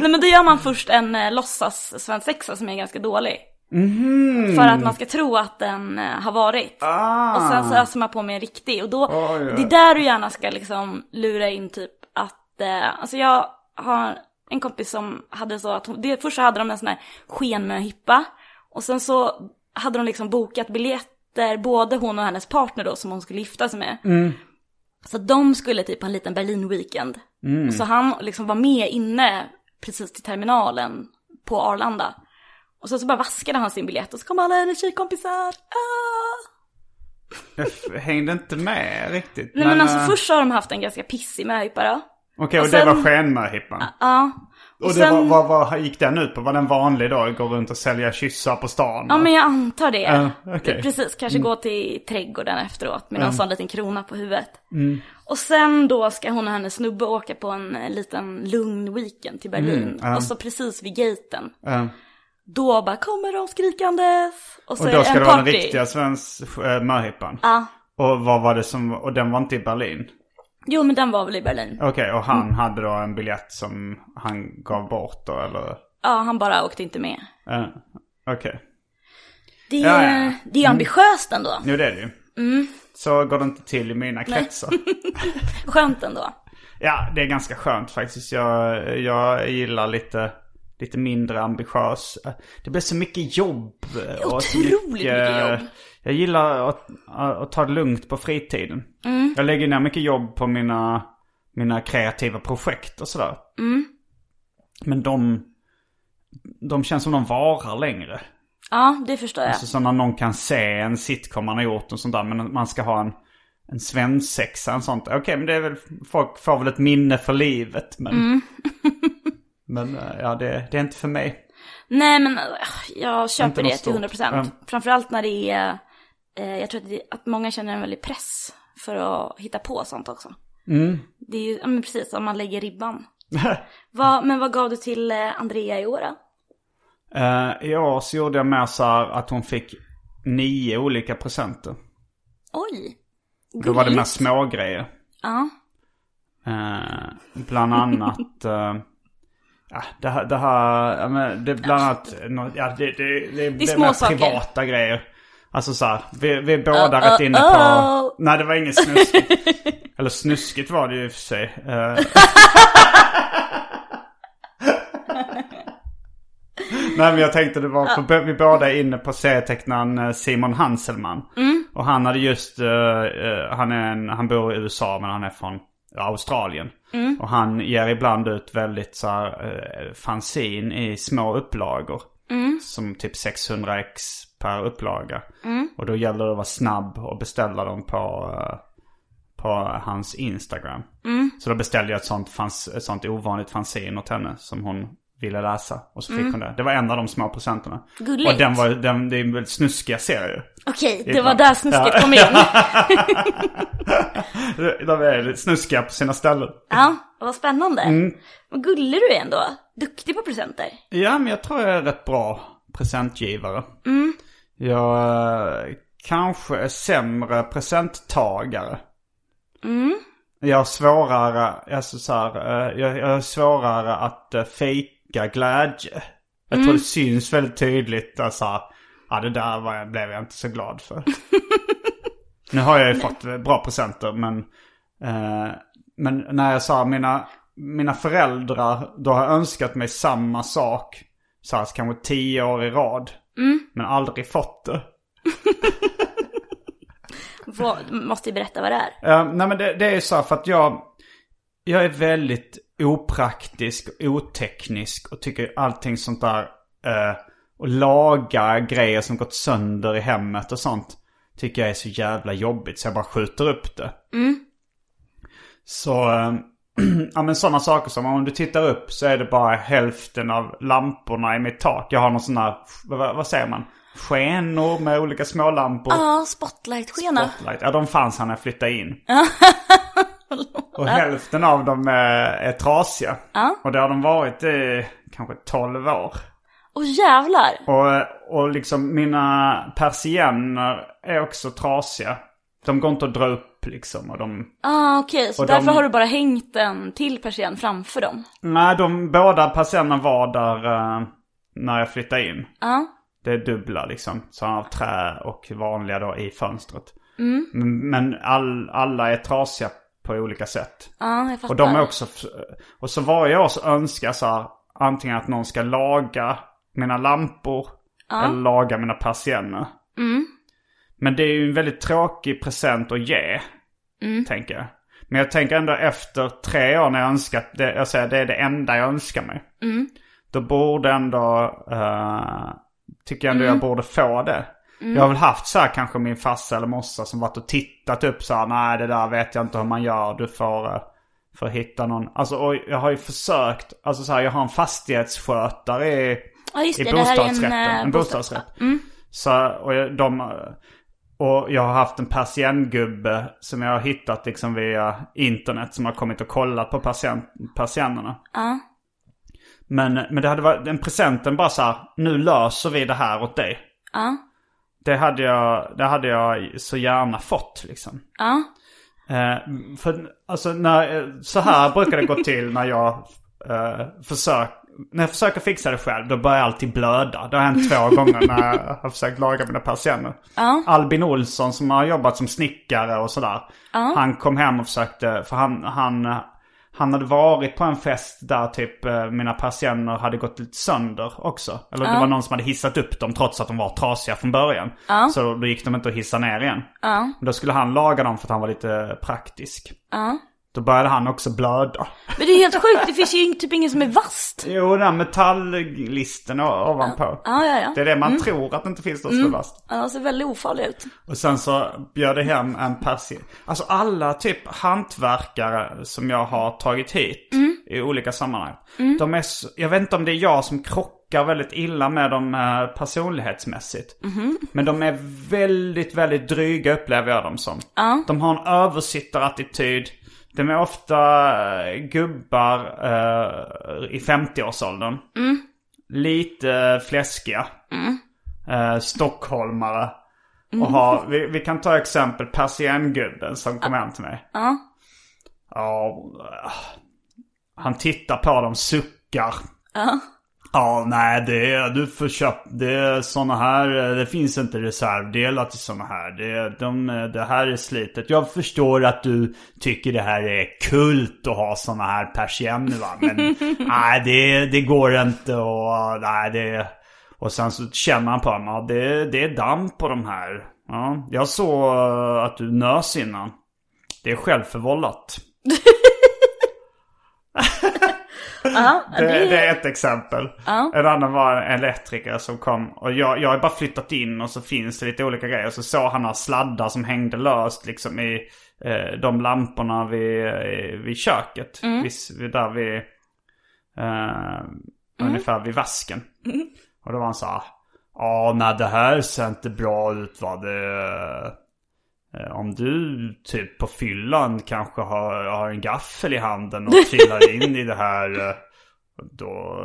Speaker 3: nej men då gör man först en eh, låtsas svensexa som är ganska dålig.
Speaker 2: Mhm.
Speaker 3: För att man ska tro att den eh, har varit.
Speaker 2: Ah.
Speaker 3: Och sen så öser man på med en riktig. Och då,
Speaker 2: Oj, oj.
Speaker 3: det är där du gärna ska liksom lura in typ att, eh, alltså jag har en kompis som hade så att, hon, det, först så hade de en sån här skenmöhippa. Och sen så hade de liksom bokat biljetter, både hon och hennes partner då som hon skulle gifta sig med. Så att de skulle typ ha en liten Berlin-weekend. Och Så han liksom var med inne precis till terminalen på Arlanda. Och sen så bara vaskade han sin biljett och så kom alla hennes tjejkompisar. Ah!
Speaker 2: Jag f- hängde inte med riktigt.
Speaker 3: Nej men, alltså
Speaker 2: eh,
Speaker 3: först så har de haft en ganska pissig möhippa då.
Speaker 2: Okej, och
Speaker 3: och sen-
Speaker 2: det var skenmöhippan.
Speaker 3: Ja.
Speaker 2: och det
Speaker 3: sen-
Speaker 2: var, vad, vad gick den ut på? Var den vanlig då? Gå runt och sälja kyssar på stan?
Speaker 3: Ja men jag antar det.
Speaker 2: Ja, okej. Mm.
Speaker 3: Precis, kanske gå till trädgården efteråt med någon sån liten krona på huvudet.
Speaker 2: Mm.
Speaker 3: Och sen då ska hon och hennes snubbe åka på en eh, liten lugn weekend till
Speaker 2: Mm,
Speaker 3: Berlin. Och så precis vid gaten,
Speaker 2: Eh,
Speaker 3: då bara kommer de skrikandes. Och så
Speaker 2: och
Speaker 3: är
Speaker 2: då ska
Speaker 3: en
Speaker 2: det vara
Speaker 3: party.
Speaker 2: den riktiga svensk uh, möhippan?
Speaker 3: Ja.
Speaker 2: Och vad var det som, och den var inte i Berlin?
Speaker 3: Jo men den var väl i Berlin.
Speaker 2: Okej, och han hade då en biljett som han gav bort då eller?
Speaker 3: Ja, han bara åkte inte med.
Speaker 2: Eh, Okej,
Speaker 3: Det,
Speaker 2: Ja, ja. Mm.
Speaker 3: det är ju ambitiöst ändå.
Speaker 2: nu det är det ju. Så går det inte till i mina kretsar.
Speaker 3: Skönt ändå.
Speaker 2: Ja, det är ganska skönt faktiskt. Jag, jag gillar lite, lite mindre ambitiös. Det blir så mycket jobb. och så
Speaker 3: Otroligt mycket jobb.
Speaker 2: Jag gillar att, att ta det lugnt på fritiden.
Speaker 3: Mm.
Speaker 2: Jag lägger ner mycket jobb på mina, mina kreativa projekt och sådär.
Speaker 3: Mm.
Speaker 2: Men de, de känns som de varar längre.
Speaker 3: Ja, det förstår jag.
Speaker 2: Alltså så när någon kan se en sitcom man har gjort och sånt där. Men man ska ha en, en svensexa och sånt. Okej, men det är väl, folk får väl ett minne för livet. Men, men eh, ja, det, det är inte för mig.
Speaker 3: Nej men äh, jag köper
Speaker 2: något
Speaker 3: det till
Speaker 2: stort.
Speaker 3: 100
Speaker 2: Mm.
Speaker 3: procent. Framförallt när det är, eh, jag tror att, det, att många känner en väldig press för att hitta på sånt också.
Speaker 2: Mm.
Speaker 3: Det är ju, ja men precis, om man lägger ribban. vad, men vad gav du till eh, Andrea i år då?
Speaker 2: Eh, I år så gjorde jag mer så här att hon fick nio olika presenter.
Speaker 3: Oj!
Speaker 2: Då var det mer
Speaker 3: gulligt.
Speaker 2: smågrejer.
Speaker 3: Ja.
Speaker 2: Eh, bland annat... eh, ja, det här... Det, här ja, men det är bland annat... nå- Ja, det, det, det, det är
Speaker 3: små
Speaker 2: mer
Speaker 3: saker. Uh,
Speaker 2: privata grejer. Alltså så här, vi, vi är båda rätt inne på...
Speaker 3: oh.
Speaker 2: Nej, det var inget snuskigt. Eller snuskigt var det ju i och för sig. Eh, Nej men jag tänkte det var, för vi båda är inne på serietecknaren eh, Simon Hanselman.
Speaker 3: Mm.
Speaker 2: Och han hade just, eh, eh, han, är en, han bor i USA men han är från Australien. Och han ger ibland ut väldigt så här, eh, fanzine i små upplagor. Som typ 600 ex per upplaga. Och då gäller det att vara snabb och beställa dem på, eh, på hans Instagram. Så då beställde jag ett sånt, fans, ett sånt ovanligt fanzine åt henne som hon ville läsa. Och så fick hon det. Det var en av de små presenterna.
Speaker 3: Gulligt.
Speaker 2: Och den var, den, det är väldigt snuskiga serier.
Speaker 3: Okej, det
Speaker 2: Ibland.
Speaker 3: var där snusket kom in.
Speaker 2: De är lite snuskiga på sina ställen.
Speaker 3: ja, vad spännande.
Speaker 2: Mm.
Speaker 3: Vad gullig du är ändå. Duktig på presenter.
Speaker 2: Ja, men jag tror jag är rätt bra presentgivare. Jag eh, kanske är sämre presenttagare. Jag har svårare, alltså så här, eh, jag, jag har svårare att eh, fejka glädje. Jag tror det syns väldigt tydligt alltså, ja det där var jag, blev jag inte så glad för. nu har jag ju fått eh, bra presenter men, eh, men när jag sa mina, mina föräldrar, då har jag önskat mig samma sak. Så här, kanske tio år i rad. Men aldrig fått det.
Speaker 3: Vad, måste ju berätta vad det är.
Speaker 2: Eh, nej men det, det är ju så här för att jag, jag är väldigt opraktisk, oteknisk och tycker allting sånt där eh, och laga grejer som gått sönder i hemmet och sånt tycker jag är så jävla jobbigt så jag bara skjuter upp det. Så, eh, ja men sådana saker som om du tittar upp så är det bara hälften av lamporna i mitt tak. Jag har någon sån här, vad, vad säger man? Skenor med olika små lampor.
Speaker 3: Ja, spotlight-skena.
Speaker 2: Spotlight. Ja, de fanns han när jag flyttade in. Och hälften av dem är, är trasiga.
Speaker 3: Ja.
Speaker 2: Och det har de varit i kanske 12 år.
Speaker 3: Åh jävlar.
Speaker 2: Och, och liksom mina persienner är också trasiga. De går inte att dra upp liksom. Och de,
Speaker 3: Ah, okej. Så
Speaker 2: Och de-
Speaker 3: därför har du bara hängt en till persienn framför dem.
Speaker 2: nej, de båda persiennerna var där eh, när jag flyttade in.
Speaker 3: Ja.
Speaker 2: Det är dubbla liksom. Så av trä och vanliga då i fönstret. Men, men all, alla är trasiga på olika sätt.
Speaker 3: Ja, jag fattar.
Speaker 2: Och de är också... Och så varje år så önskar jag så här, antingen att någon ska laga mina lampor eller laga mina persienner.
Speaker 3: Mm.
Speaker 2: Men det är ju en väldigt tråkig present att ge,
Speaker 3: Mm.
Speaker 2: tänker jag. Men jag tänker ändå efter tre år när jag önskat det, jag säger det är det enda jag önskar mig.
Speaker 3: Mm.
Speaker 2: Då borde ändå, eh, tycker jag ändå
Speaker 3: Mm.
Speaker 2: jag borde få det. Jag har väl haft så här kanske min farsa eller morsa som varit och tittat upp så här, nej det där vet jag inte hur man gör, du får, eh, får hitta någon. Alltså och jag har ju försökt, alltså så här jag har en fastighetsskötare i,
Speaker 3: Ja, just
Speaker 2: i
Speaker 3: det. Det här är en...
Speaker 2: bostadsrätten,
Speaker 3: eh,
Speaker 2: en, bostadsrätt. Så, och jag, de, och jag har haft en persienngubbe som jag har hittat liksom via internet som har kommit och kollat på persien, persiennerna.
Speaker 3: Ja.
Speaker 2: Men, men det hade varit, den presenten bara så här, nu löser vi det här åt dig.
Speaker 3: Ja.
Speaker 2: Det hade jag, det hade jag så gärna fått liksom.
Speaker 3: Ja.
Speaker 2: Eh, för alltså när, eh, så här brukar det gå till när jag eh, försöker när jag försöker fixa det själv då börjar jag alltid blöda. Det har hänt två gånger när jag har försökt laga mina persienner. Albin Olsson som har jobbat som snickare och sådär. Han kom hem och försökte, för han, han, han hade varit på en fest där typ eh, mina persienner hade gått lite sönder också. Eller det var någon som hade hissat upp dem trots att de var trasiga från början. Så då gick de inte att hissa ner igen. Men Då skulle han laga dem för att han var lite praktisk. Då började han också blöda.
Speaker 3: Men det är helt sjukt. Det finns ju in- typ ingen som är vasst.
Speaker 2: Jo, den här metallisten o- ovanpå.
Speaker 3: Ja, ja, Mm. ja.
Speaker 2: Det är det man tror att det inte finns något som är värst.
Speaker 3: Ja, de ser väldigt ofarliga ut.
Speaker 2: Och sen så bjöd jag hem en persi... Alltså alla typ hantverkare som jag har tagit hit i olika sammanhang. De är så... Jag vet inte om det är jag som krockar väldigt illa med dem eh, personlighetsmässigt. Men de är väldigt, väldigt dryga upplever jag dem som. De har en översittarattityd. De är ofta eh, gubbar eh, i 50-årsåldern. Lite eh, fläskiga. Eh, stockholmare. Och ha, vi, vi kan ta exempel persiengubben som kom hem till mig.
Speaker 3: Ja.
Speaker 2: Ja. eh, Han tittar på dem, suckar.
Speaker 3: Ja.
Speaker 2: Ja, nej det är, du får köpa, det är såna här, eh, det finns inte reservdelar till såna här. Det, är- de, eh, det här är slitet. Jag förstår att du tycker det här är kult att ha såna här persienner va. Men nej, det, det går inte och nej det... Och sen så känner han på honom, ja det, det är damm på de här. Ja, jag såg eh, att du nös innan. Det är självförvållat.
Speaker 3: Ja, det,
Speaker 2: Det, det
Speaker 3: är...
Speaker 2: är ett exempel. En annan var en elektriker som kom och jag, jag har bara flyttat in och så finns det lite olika grejer. Så såg han några sladdar som hängde löst liksom i eh, de lamporna vid, eh, vid köket. Vid, vid, där vid, eh, ungefär vid vasken. Och då var han så här, ja nej det här ser inte bra ut va. Det, Eh, Om du typ på fyllan kanske har, har en gaffel i handen och trillar in i det här eh, då,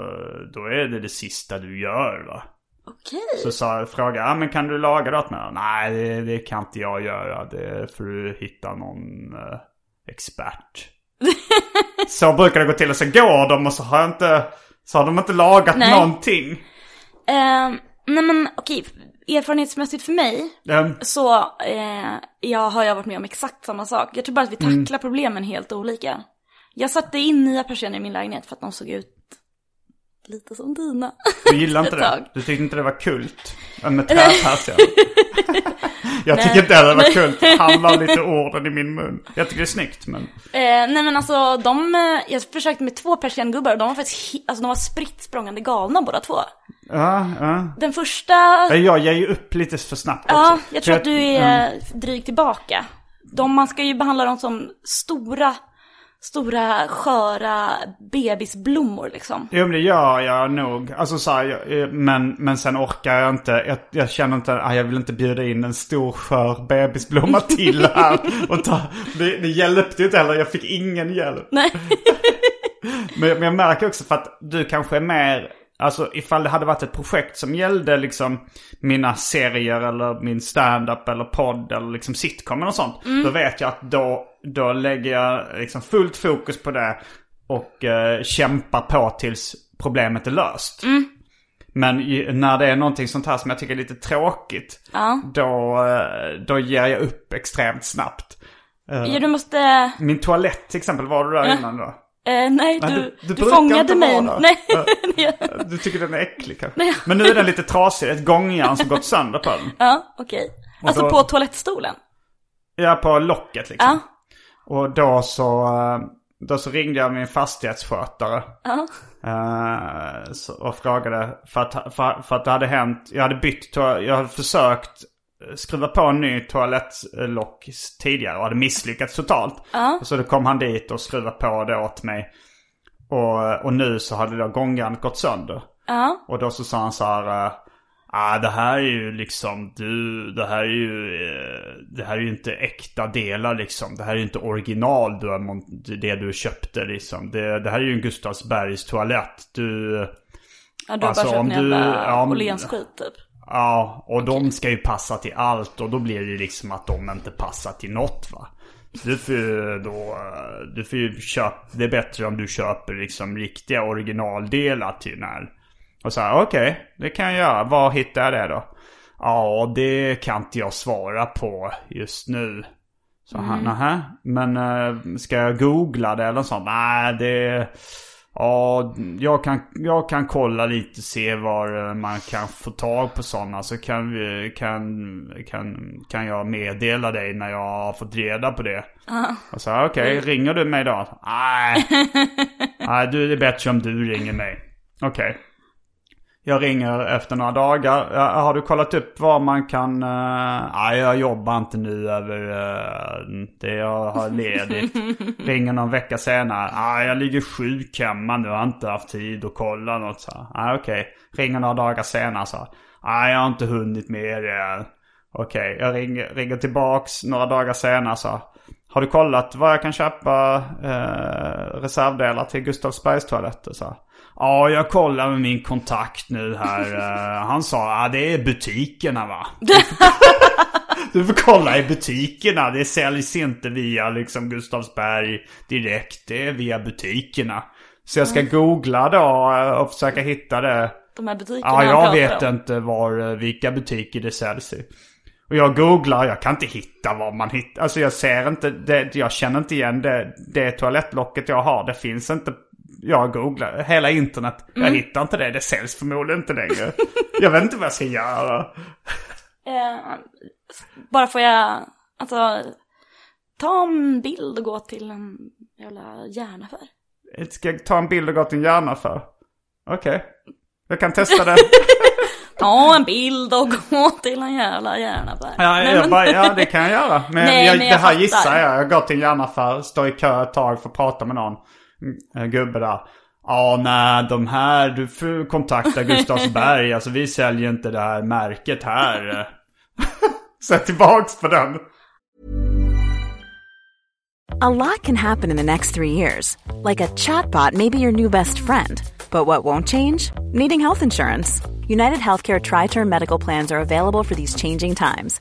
Speaker 2: då är det det sista du gör va?
Speaker 3: Okej.
Speaker 2: Så sa, frågade jag, ah, men kan du laga det åt mig? Nej, det, det kan inte jag göra. Det får du hitta någon eh, expert. så brukar det gå till och så går de och så har, jag inte, så har de inte lagat
Speaker 3: Nej.
Speaker 2: någonting.
Speaker 3: Ehm, nej men okej, erfarenhetsmässigt för mig
Speaker 2: Ehm,
Speaker 3: så eh, jag har jag varit med om exakt samma sak. Jag tror bara att vi
Speaker 2: Mm.
Speaker 3: tacklar problemen helt olika. Jag satte in nya persienner i min lägenhet för att de såg ut lite som dina.
Speaker 2: Du gillar inte
Speaker 3: Ett
Speaker 2: det?
Speaker 3: tag.
Speaker 2: Du tyckte inte det var kult? Ja, Med träpersienner? jag tycker inte heller det var kult. Han la lite orden i min mun. Jag tycker det är snyggt men...
Speaker 3: Eh, nej men alltså de, eh, jag försökte med två persiengubbar och de var faktiskt, he- alltså de var spritt språngande galna båda två.
Speaker 2: Ja, ja.
Speaker 3: Den första,
Speaker 2: Men Jag ger ju upp lite för snabbt också.
Speaker 3: ja jag tror
Speaker 2: För mm.
Speaker 3: att du är eh, dryg tillbaka. De, man ska ju behandla dem som stora stora sköra bebisblommor liksom.
Speaker 2: Jo men det gör jag nog. Alltså så här, jag, eh, men, men sen orkar jag inte. Jag, jag känner inte, ah, jag vill inte bjuda in en stor skör bebisblomma till här. Och ta, det, det hjälpte ju inte heller, jag fick ingen hjälp.
Speaker 3: Nej.
Speaker 2: Men, men jag märker också för att du kanske är mer, alltså ifall det hade varit ett projekt som gällde liksom mina serier eller min stand-up eller podd eller liksom sitcom och sånt. Då vet jag att då, då lägger jag liksom fullt fokus på det och eh, kämpar på tills problemet är löst. Men i, när det är någonting sånt här som jag tycker är lite tråkigt,
Speaker 3: Ja.
Speaker 2: då, eh, då ger jag upp extremt snabbt.
Speaker 3: ja, du måste...
Speaker 2: Min toalett till exempel, var du där innan då?
Speaker 3: Eh, nej, du,
Speaker 2: du- du
Speaker 3: du,
Speaker 2: brukar inte
Speaker 3: fångade mig.
Speaker 2: vara där.
Speaker 3: Nej,
Speaker 2: Du tycker den är äcklig kanske?
Speaker 3: Nej.
Speaker 2: Men nu är den lite trasig. Ett gångjärn som gått sönder på den.
Speaker 3: ja, okej. Alltså
Speaker 2: då-
Speaker 3: på toalettstolen.
Speaker 2: Ja, på locket liksom.
Speaker 3: Ja,
Speaker 2: Och då så, eh, då så ringde jag min fastighetsskötare.
Speaker 3: ja,
Speaker 2: eh, så- och frågade, för att, för, för att det hade hänt, jag hade bytt, toa- jag hade försökt skruva på en ny toalettlock tidigare och hade misslyckats totalt. Så då kom han dit och skruvade på det åt mig. Och, och nu så hade då gångjärnet gått sönder.
Speaker 3: ja.
Speaker 2: Och då så sa han så här. eh, Ah, det här är ju liksom du, det här är ju, eh, det här är ju inte äkta delar liksom. Det här är ju inte original du har, mon- det du köpte liksom. Det, det här är ju en Gustavsbergs toalett. Du,
Speaker 3: ja du har
Speaker 2: Alltså,
Speaker 3: bara köpt
Speaker 2: om
Speaker 3: en
Speaker 2: du- ja,
Speaker 3: jävla
Speaker 2: om-
Speaker 3: Åhlénsskit typ.
Speaker 2: ja, och de ska ju passa till allt och då blir det ju liksom att de inte passar till något va. Du får ju då, eh, du får ju köpa, det är bättre om du köper liksom riktiga originaldelar till den här. Och så här, okej, det kan jag göra. Var hittar jag det då? Ja, det kan inte jag svara på just nu. Så han, nähä. Men eh, ska jag googla det eller sånt? Nej, det... Ja, jag kan, jag kan kolla lite se var eh, man kan få tag på sådana. Så kan, vi, kan, kan, kan jag meddela dig när jag har fått reda på det. Och så här, okej, ringer du mig då? Nej. Nej, du, det är bättre om du ringer mig. Okej. Jag ringer efter några dagar. Ja, Har du kollat upp var man kan... eh, Nej, jag jobbar inte nu över eh, det jag har ledigt. ringer någon vecka senare. Nej, jag ligger sjuk hemma nu. Jag har inte haft tid att kolla något. Så här, Nej, okej. Ringer några dagar senare. Så här, Nej, jag har inte hunnit med det än. Okej, jag ringer, ringer tillbaks några dagar senare. Så här, har du kollat var jag kan köpa eh, reservdelar till Gustavsbergs toaletter? Så här, Ja, jag kollar med min kontakt nu här. Eh, Han sa, ah, det är butikerna va? Du får- Du får kolla i butikerna. Det säljs inte via liksom Gustavsberg direkt. Det är via butikerna. Så jag ska googla då eh, och försöka hitta det.
Speaker 3: De här butikerna
Speaker 2: Ja,
Speaker 3: han
Speaker 2: jag
Speaker 3: pratar
Speaker 2: vet
Speaker 3: om.
Speaker 2: inte var, eh, vilka butiker det säljs i. Och jag googlar, jag kan inte hitta vad man hittar. Alltså jag ser inte, det, jag känner inte igen det, det toalettlocket jag har. Det finns inte. Jag googlar hela internet. Jag hittar inte det. Det säljs förmodligen inte längre. jag vet inte vad jag ska göra.
Speaker 3: Eh, bara får jag, alltså, ta en bild och gå till en jävla järnaffär.
Speaker 2: Ska jag ta en bild och gå till en hjärna för? Okej. Jag kan testa det.
Speaker 3: Ta en bild och gå till en jävla järnaffär.
Speaker 2: Ja,
Speaker 3: Nej,
Speaker 2: jag
Speaker 3: men-
Speaker 2: bara, ja det kan jag göra. Men,
Speaker 3: Nej,
Speaker 2: jag,
Speaker 3: men
Speaker 2: det
Speaker 3: jag
Speaker 2: här
Speaker 3: fattar.
Speaker 2: gissar jag. Jag går till en järnaffär, står i kö ett tag för att prata med någon mm, en gubbe där. Ja, nej, de här, du får kontakta Gustavsberg. alltså vi säljer inte det här märket här. Sätt tillbaks på den.
Speaker 1: A lot can happen in the next three years. Like a chatbot may be your new best friend. But what won't change? Needing health insurance. United Healthcare Tri Term Medical Plans are available for these changing times.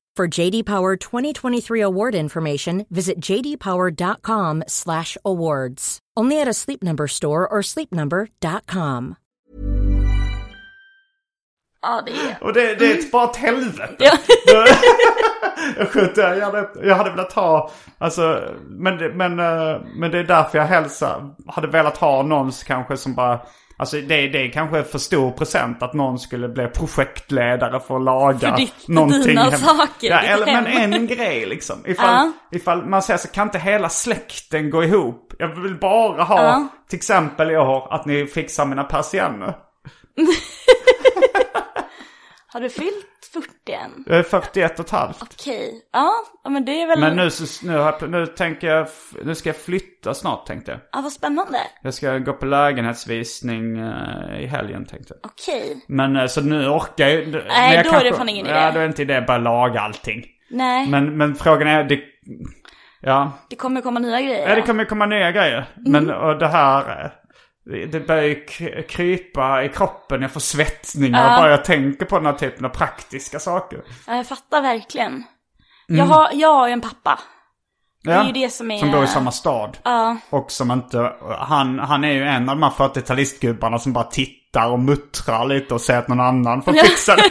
Speaker 4: For JD Power 2023 award information, visit jdpower.com/awards. Only at a Sleep Number store or sleepnumber.com.
Speaker 3: Ja, det är...
Speaker 2: Och det, det är ett, bara ett helvete.
Speaker 3: Ja.
Speaker 2: Jag skjuter, jag hade, jag hade velat ha, alltså, men, det- men, eh, men det är därför jag hälsar, hade velat ha någon kanske som bara, alltså det, det är kanske för stor present att någon skulle bli projektledare för att laga
Speaker 3: För ditt-
Speaker 2: någonting.
Speaker 3: dina
Speaker 2: hemma.
Speaker 3: saker,
Speaker 2: Ja,
Speaker 3: ditt
Speaker 2: eller, men
Speaker 3: hem.
Speaker 2: en grej liksom. Ifall, ifall man säger så kan inte hela släkten gå ihop. Jag vill bara ha, till exempel i år, att ni fixar mina persienner.
Speaker 3: Har du fyllt 40 än?
Speaker 2: Jag är 41 och ett halvt.
Speaker 3: Okej. Ja, ja, men det är väl...
Speaker 2: Men nu, så, nu, har jag- nu tänker jag, nu ska jag flytta snart tänkte jag.
Speaker 3: Ja, vad spännande.
Speaker 2: Jag ska gå på lägenhetsvisning eh, i helgen tänkte jag.
Speaker 3: Okej.
Speaker 2: Men eh, så nu orkar jag Nej,
Speaker 3: Nej, då är det fan ingen idé.
Speaker 2: Ja, då är det inte idé att bara laga allting.
Speaker 3: Nej,
Speaker 2: Men, men frågan är, det, ja,
Speaker 3: det kommer komma nya grejer.
Speaker 2: ja. det kommer ju komma nya grejer.
Speaker 3: Mm.
Speaker 2: Men och det här, eh, det- det börjar ju kry- krypa i kroppen, jag får svettningar bara jag tänker på den här typen av praktiska saker.
Speaker 3: Ja, jag fattar verkligen.
Speaker 2: Mm.
Speaker 3: Jag, har, jag har ju en pappa.
Speaker 2: Ja,
Speaker 3: är ju det som är-
Speaker 2: Som bor i samma stad.
Speaker 3: Ja,
Speaker 2: Och som inte, han, han är ju en av de här 40-talistgubbarna som bara tittar och muttrar lite och säger att någon annan får fixa det.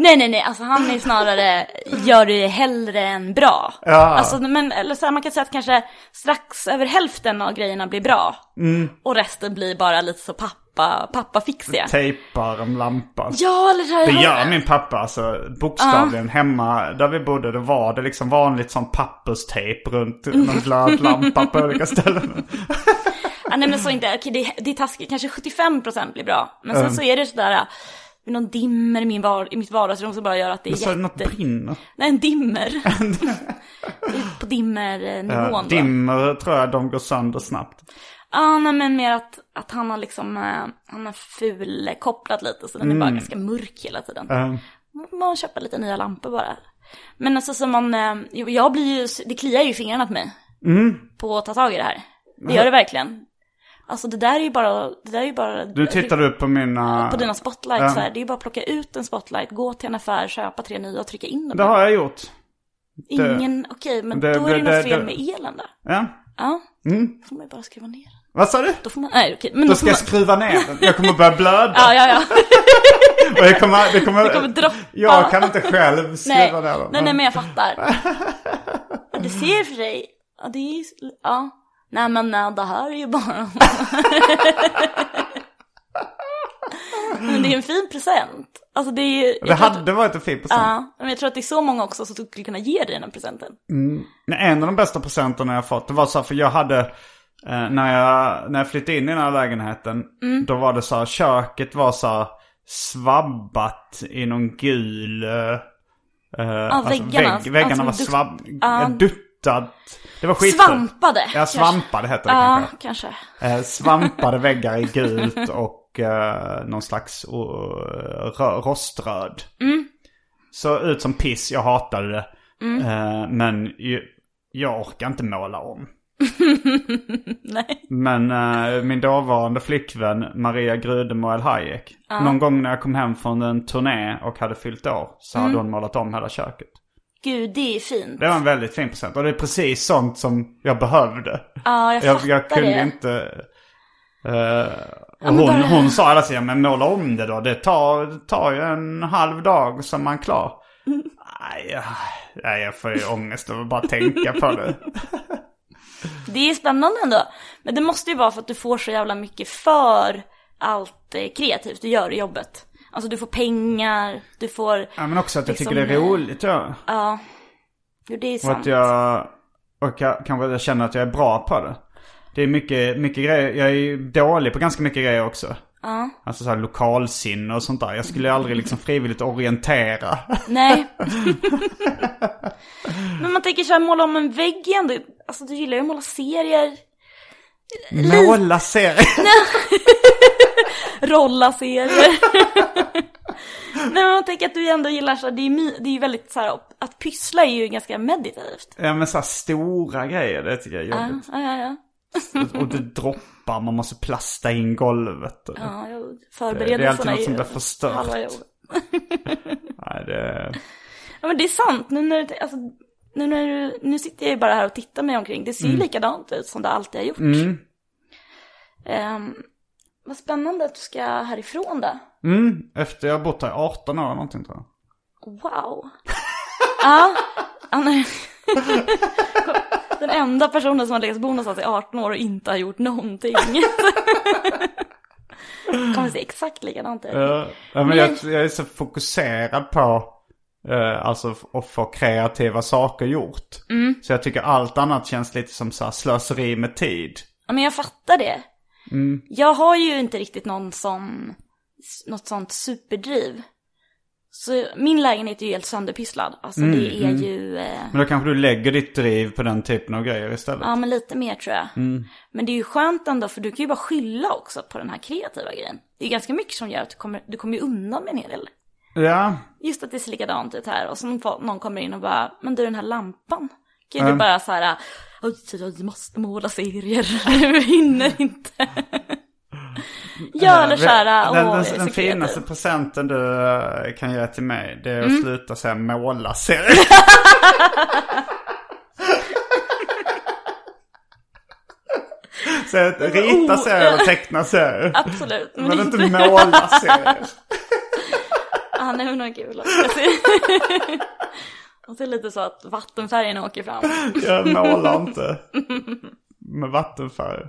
Speaker 3: Nej, nej, nej, alltså han är snarare, gör det hellre än bra. Alltså, men, eller så här, man kan säga att kanske strax över hälften av grejerna blir bra.
Speaker 2: Mm.
Speaker 3: Och resten blir bara lite så pappa, pappa fixiga.
Speaker 2: Tejpar en lampa.
Speaker 3: Ja, eller det här.
Speaker 2: Det gör min pappa alltså. Bokstavligen hemma där vi bodde då var det liksom vanligt sån papperstejp runt
Speaker 3: Mm.
Speaker 2: någon glödlampa på olika ställen.
Speaker 3: Ja, nej, men så inte, okej, det, det är taskigt, kanske 75% blir bra. Men sen så är det sådär, äh, någon dimmer i, min var, i mitt vardagsrum som bara gör att det är
Speaker 2: Så något
Speaker 3: jätte...
Speaker 2: brinner.
Speaker 3: Nej, en dimmer. Det är på dimmernivån
Speaker 2: Ja,
Speaker 3: då.
Speaker 2: dimmer tror jag de går sönder snabbt.
Speaker 3: Ja, nej men mer att, att han har liksom, eh, han har fulkopplat lite så den är bara
Speaker 2: Mm.
Speaker 3: ganska mörk hela tiden.
Speaker 2: Eh,
Speaker 3: Man köper lite nya lampor bara. Men alltså som man, eh, jo, jag blir ju, det kliar ju i fingrarna på mig.
Speaker 2: Mm.
Speaker 3: På att ta tag i det här. Det gör det verkligen. Alltså det där är ju bara, det där är ju bara...
Speaker 2: nu tittar du på mina...
Speaker 3: På dina spotlights
Speaker 2: Ja.
Speaker 3: så här, det är ju bara att plocka ut en spotlight, gå till en affär, köpa tre nya och trycka in dem.
Speaker 2: Det har jag gjort.
Speaker 3: Ingen, okej men
Speaker 2: det-
Speaker 3: då är det,
Speaker 2: det-
Speaker 3: ju
Speaker 2: det-
Speaker 3: något fel
Speaker 2: det-
Speaker 3: med elen då.
Speaker 2: Ja.
Speaker 3: Ja, då får man ju bara skruva ner den.
Speaker 2: Vad sa du?
Speaker 3: Då får man, nej okej. men
Speaker 2: Då
Speaker 3: då
Speaker 2: ska jag
Speaker 3: får man...
Speaker 2: skruva ner den. Jag kommer börja blöda.
Speaker 3: Ja, ja, ja.
Speaker 2: Och jag kommer, det kommer,
Speaker 3: Det kommer droppa.
Speaker 2: Jag kan inte själv
Speaker 3: Nej,
Speaker 2: skriva det.
Speaker 3: nej, nej men jag fattar. Ja, det ser för sig. Ja, det är ju... Ja. Nej men nej, det här är ju bara... men det är en fin present. Alltså det är ju...
Speaker 2: Det hade varit en fin present.
Speaker 3: Ja, men jag tror att det är så många också som skulle kunna ge dig den här presenten.
Speaker 2: Nej, En av de bästa presenterna jag fått, det var så här, för jag hade, eh, när, jag, när jag flyttade in i den här lägenheten,
Speaker 3: Mm.
Speaker 2: då var det så här, köket var så här svabbat i någon gul... Eh, ja,
Speaker 3: väggarna.
Speaker 2: Vägg, väggarna
Speaker 3: Alltså,
Speaker 2: var
Speaker 3: dutt-
Speaker 2: svabb,
Speaker 3: ja.
Speaker 2: duttat. Det var skit.
Speaker 3: Svampade.
Speaker 2: Ja,
Speaker 3: kanske.
Speaker 2: svampade heter det
Speaker 3: Ja,
Speaker 2: kanske.
Speaker 3: kanske.
Speaker 2: Eh, svampade väggar i gult och eh, någon slags uh, rö- roströd.
Speaker 3: Mm.
Speaker 2: Så ut som piss, jag hatade det. Eh, men ju, jag orkar inte måla om.
Speaker 3: Nej.
Speaker 2: Men eh, min dåvarande flickvän Maria Grudemoel Hayek. Någon gång när jag kom hem från en turné och hade fyllt år så
Speaker 3: Mm.
Speaker 2: hade hon målat om hela köket.
Speaker 3: Gud, det är fint.
Speaker 2: Det var en väldigt fin present och det är precis sånt som jag behövde.
Speaker 3: Ja, jag
Speaker 2: Jag,
Speaker 3: fattar
Speaker 2: jag kunde
Speaker 3: det.
Speaker 2: inte... eh, och
Speaker 3: men
Speaker 2: hon,
Speaker 3: bara-
Speaker 2: hon sa hela tiden, men måla om det då. Det tar, det tar ju en halv dag som man är klar. Nej, jag, nej, jag får ju ångest av att bara tänka på det.
Speaker 3: Det är spännande ändå. Men det måste ju vara för att du får så jävla mycket för allt eh, kreativt du gör i jobbet. Alltså du får pengar, du får...
Speaker 2: Ja, men också att jag
Speaker 3: Liksom,
Speaker 2: tycker det är
Speaker 3: eh,
Speaker 2: roligt. Ja.
Speaker 3: Ja. Jo, det är
Speaker 2: Och att
Speaker 3: sant.
Speaker 2: jag... Och jag, kanske jag känner att jag är bra på det. Det är mycket, mycket grejer. Jag är ju dålig på ganska mycket grejer också. Alltså så här lokalsinne och sånt där. Jag skulle ju aldrig liksom frivilligt orientera.
Speaker 3: Nej. Men man tänker så här, måla om en vägg igen. Du, alltså du gillar ju att måla serier.
Speaker 2: Måla serier.
Speaker 3: rolla serier. Men man tänker att du ändå gillar så här, det är, my- det är ju väldigt så här, att pyssla är ju ganska meditativt.
Speaker 2: Ja men så här stora grejer, det tycker jag är
Speaker 3: Ja,
Speaker 2: jobbigt.
Speaker 3: ja, ja, ja.
Speaker 2: Och det droppar, man måste plasta in golvet. Och...
Speaker 3: ja jag
Speaker 2: Det är alltid
Speaker 3: förberedelserna
Speaker 2: något som
Speaker 3: ju
Speaker 2: blir förstört.
Speaker 3: halva jobbet.
Speaker 2: Nej, det...
Speaker 3: Ja men det är sant, nu när, du- alltså, nu, när du, nu sitter jag ju bara här och tittar mig omkring. Det ser ju likadant ut som det alltid har gjort.
Speaker 2: Mm.
Speaker 3: Ehm, vad spännande att du ska härifrån då.
Speaker 2: Mm, efter jag har bott här i 18 år eller någonting tror jag.
Speaker 3: Wow. ja, han är... Den enda personen som har legat bo någonstans i 18 år och inte har gjort någonting. Kommer se exakt likadant ut.
Speaker 2: Ja, ja, men jag, jag är så fokuserad på eh, alltså f- att få kreativa saker gjort.
Speaker 3: Mm.
Speaker 2: Så jag tycker allt annat känns lite som så här slöseri med tid.
Speaker 3: Ja, men jag fattar det. Jag har ju inte riktigt någon sån, något sånt superdriv. Så min lägenhet är ju helt sönderpysslad. Alltså det är ju, eh,
Speaker 2: Men då kanske du lägger ditt driv på den typen av grejer istället.
Speaker 3: ja men lite mer tror jag. Men det är ju skönt ändå för du kan ju bara skylla också på den här kreativa grejen. Det är ganska mycket som gör att du kommer, du kommer ju undan med en hel del.
Speaker 2: Ja,
Speaker 3: Just att det ser likadant ut här och så får- någon kommer in och bara, men du den här lampan. Kan ju du bara så här, oj, oj, oj, måste måla serier, jag hinner inte. Ja, eller så här, åh,
Speaker 2: Eh, den,
Speaker 3: jag
Speaker 2: den,
Speaker 3: är så
Speaker 2: den
Speaker 3: kreativ.
Speaker 2: finaste presenten du eh, kan ge till mig det är att
Speaker 3: Mm.
Speaker 2: sluta säga måla serier. Så att rita
Speaker 3: oh,
Speaker 2: serier och teckna serier.
Speaker 3: Absolut, men,
Speaker 2: Men
Speaker 3: inte,
Speaker 2: inte måla serier.
Speaker 3: ah, nej men vad kul också. Och så är det lite så att vattenfärgen åker fram.
Speaker 2: Jag målar inte. Med vattenfärg.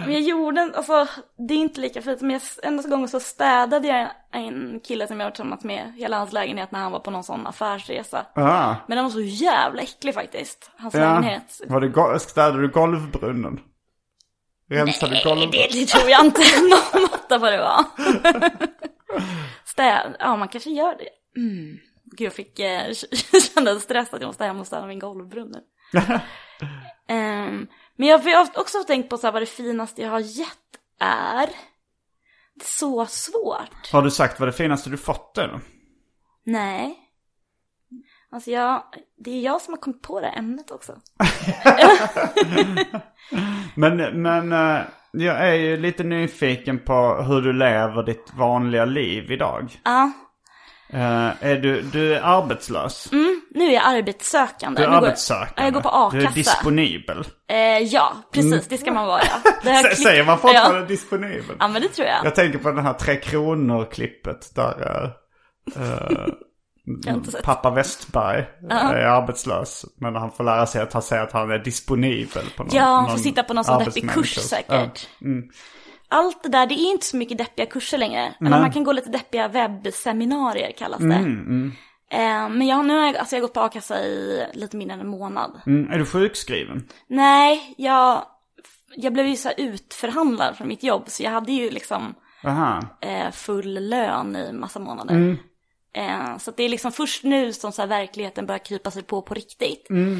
Speaker 3: Men jag gjorde, en- alltså det är inte lika fint, men jag, en gång så städade jag en kille som jag varit tillsammans med, hela hans lägenhet när han var på någon sån affärsresa.
Speaker 2: Ah,
Speaker 3: Men den var så jävla äcklig faktiskt, hans
Speaker 2: ja.
Speaker 3: lägenhet.
Speaker 2: Var det go- städade du golvbrunnen? Rensade du
Speaker 3: Nej, det,
Speaker 2: golvbrunnen?
Speaker 3: det tror jag inte någon måtta på det var. Städ, ja man kanske gör det. Mm. Gud jag fick, eh, kände en stress att jag måste hem och städa min golvbrunn nu. Ehm, men jag jag har också tänkt på så här, vad det finaste jag har gett är. Det är så svårt.
Speaker 2: Har du sagt vad det finaste du fått är?
Speaker 3: Nej. Alltså jag, det är jag som har kommit på det här ämnet också.
Speaker 2: Men, men eh, jag är ju lite nyfiken på hur du lever ditt vanliga liv idag.
Speaker 3: Ja,
Speaker 2: Eh, är du, du är arbetslös.
Speaker 3: nu är jag arbetssökande.
Speaker 2: Du är
Speaker 3: Nu går Mm, jag-
Speaker 2: arbetssökande.
Speaker 3: Ja, Jag går på
Speaker 2: Du är
Speaker 3: a-kassa.
Speaker 2: disponibel.
Speaker 3: Eh, ja, precis. Det ska man vara. Det har jag
Speaker 2: Sä-
Speaker 3: klippt-
Speaker 2: Säger man fortfarande
Speaker 3: Ja.
Speaker 2: disponibel?
Speaker 3: ja, men det tror jag.
Speaker 2: Jag tänker på den här Tre Kronor-klippet där eh, eh,
Speaker 3: har inte sett.
Speaker 2: pappa Westberg är arbetslös. Men han får lära sig att han säger att han är disponibel. På någon,
Speaker 3: Ja, han
Speaker 2: någon
Speaker 3: får sitta på någon sån deppig kurs
Speaker 2: arbetsmänniska. Mm.
Speaker 3: säkert. Allt det där, det är inte så mycket deppiga kurser längre. Eller man kan gå lite deppiga webbseminarier kallas det.
Speaker 2: Mm,
Speaker 3: Eh, men jag, har- nu har jag, alltså jag har gått på a-kassa i lite mindre än en månad.
Speaker 2: Ja. Mm, är du sjukskriven?
Speaker 3: Nej, jag, jag blev ju så här utförhandlad från mitt jobb. Så jag hade ju liksom
Speaker 2: Aha.
Speaker 3: eh, full lön i massa månader. Eh, så att det är liksom först nu som så här verkligheten börjar krypa sig på på riktigt. Nej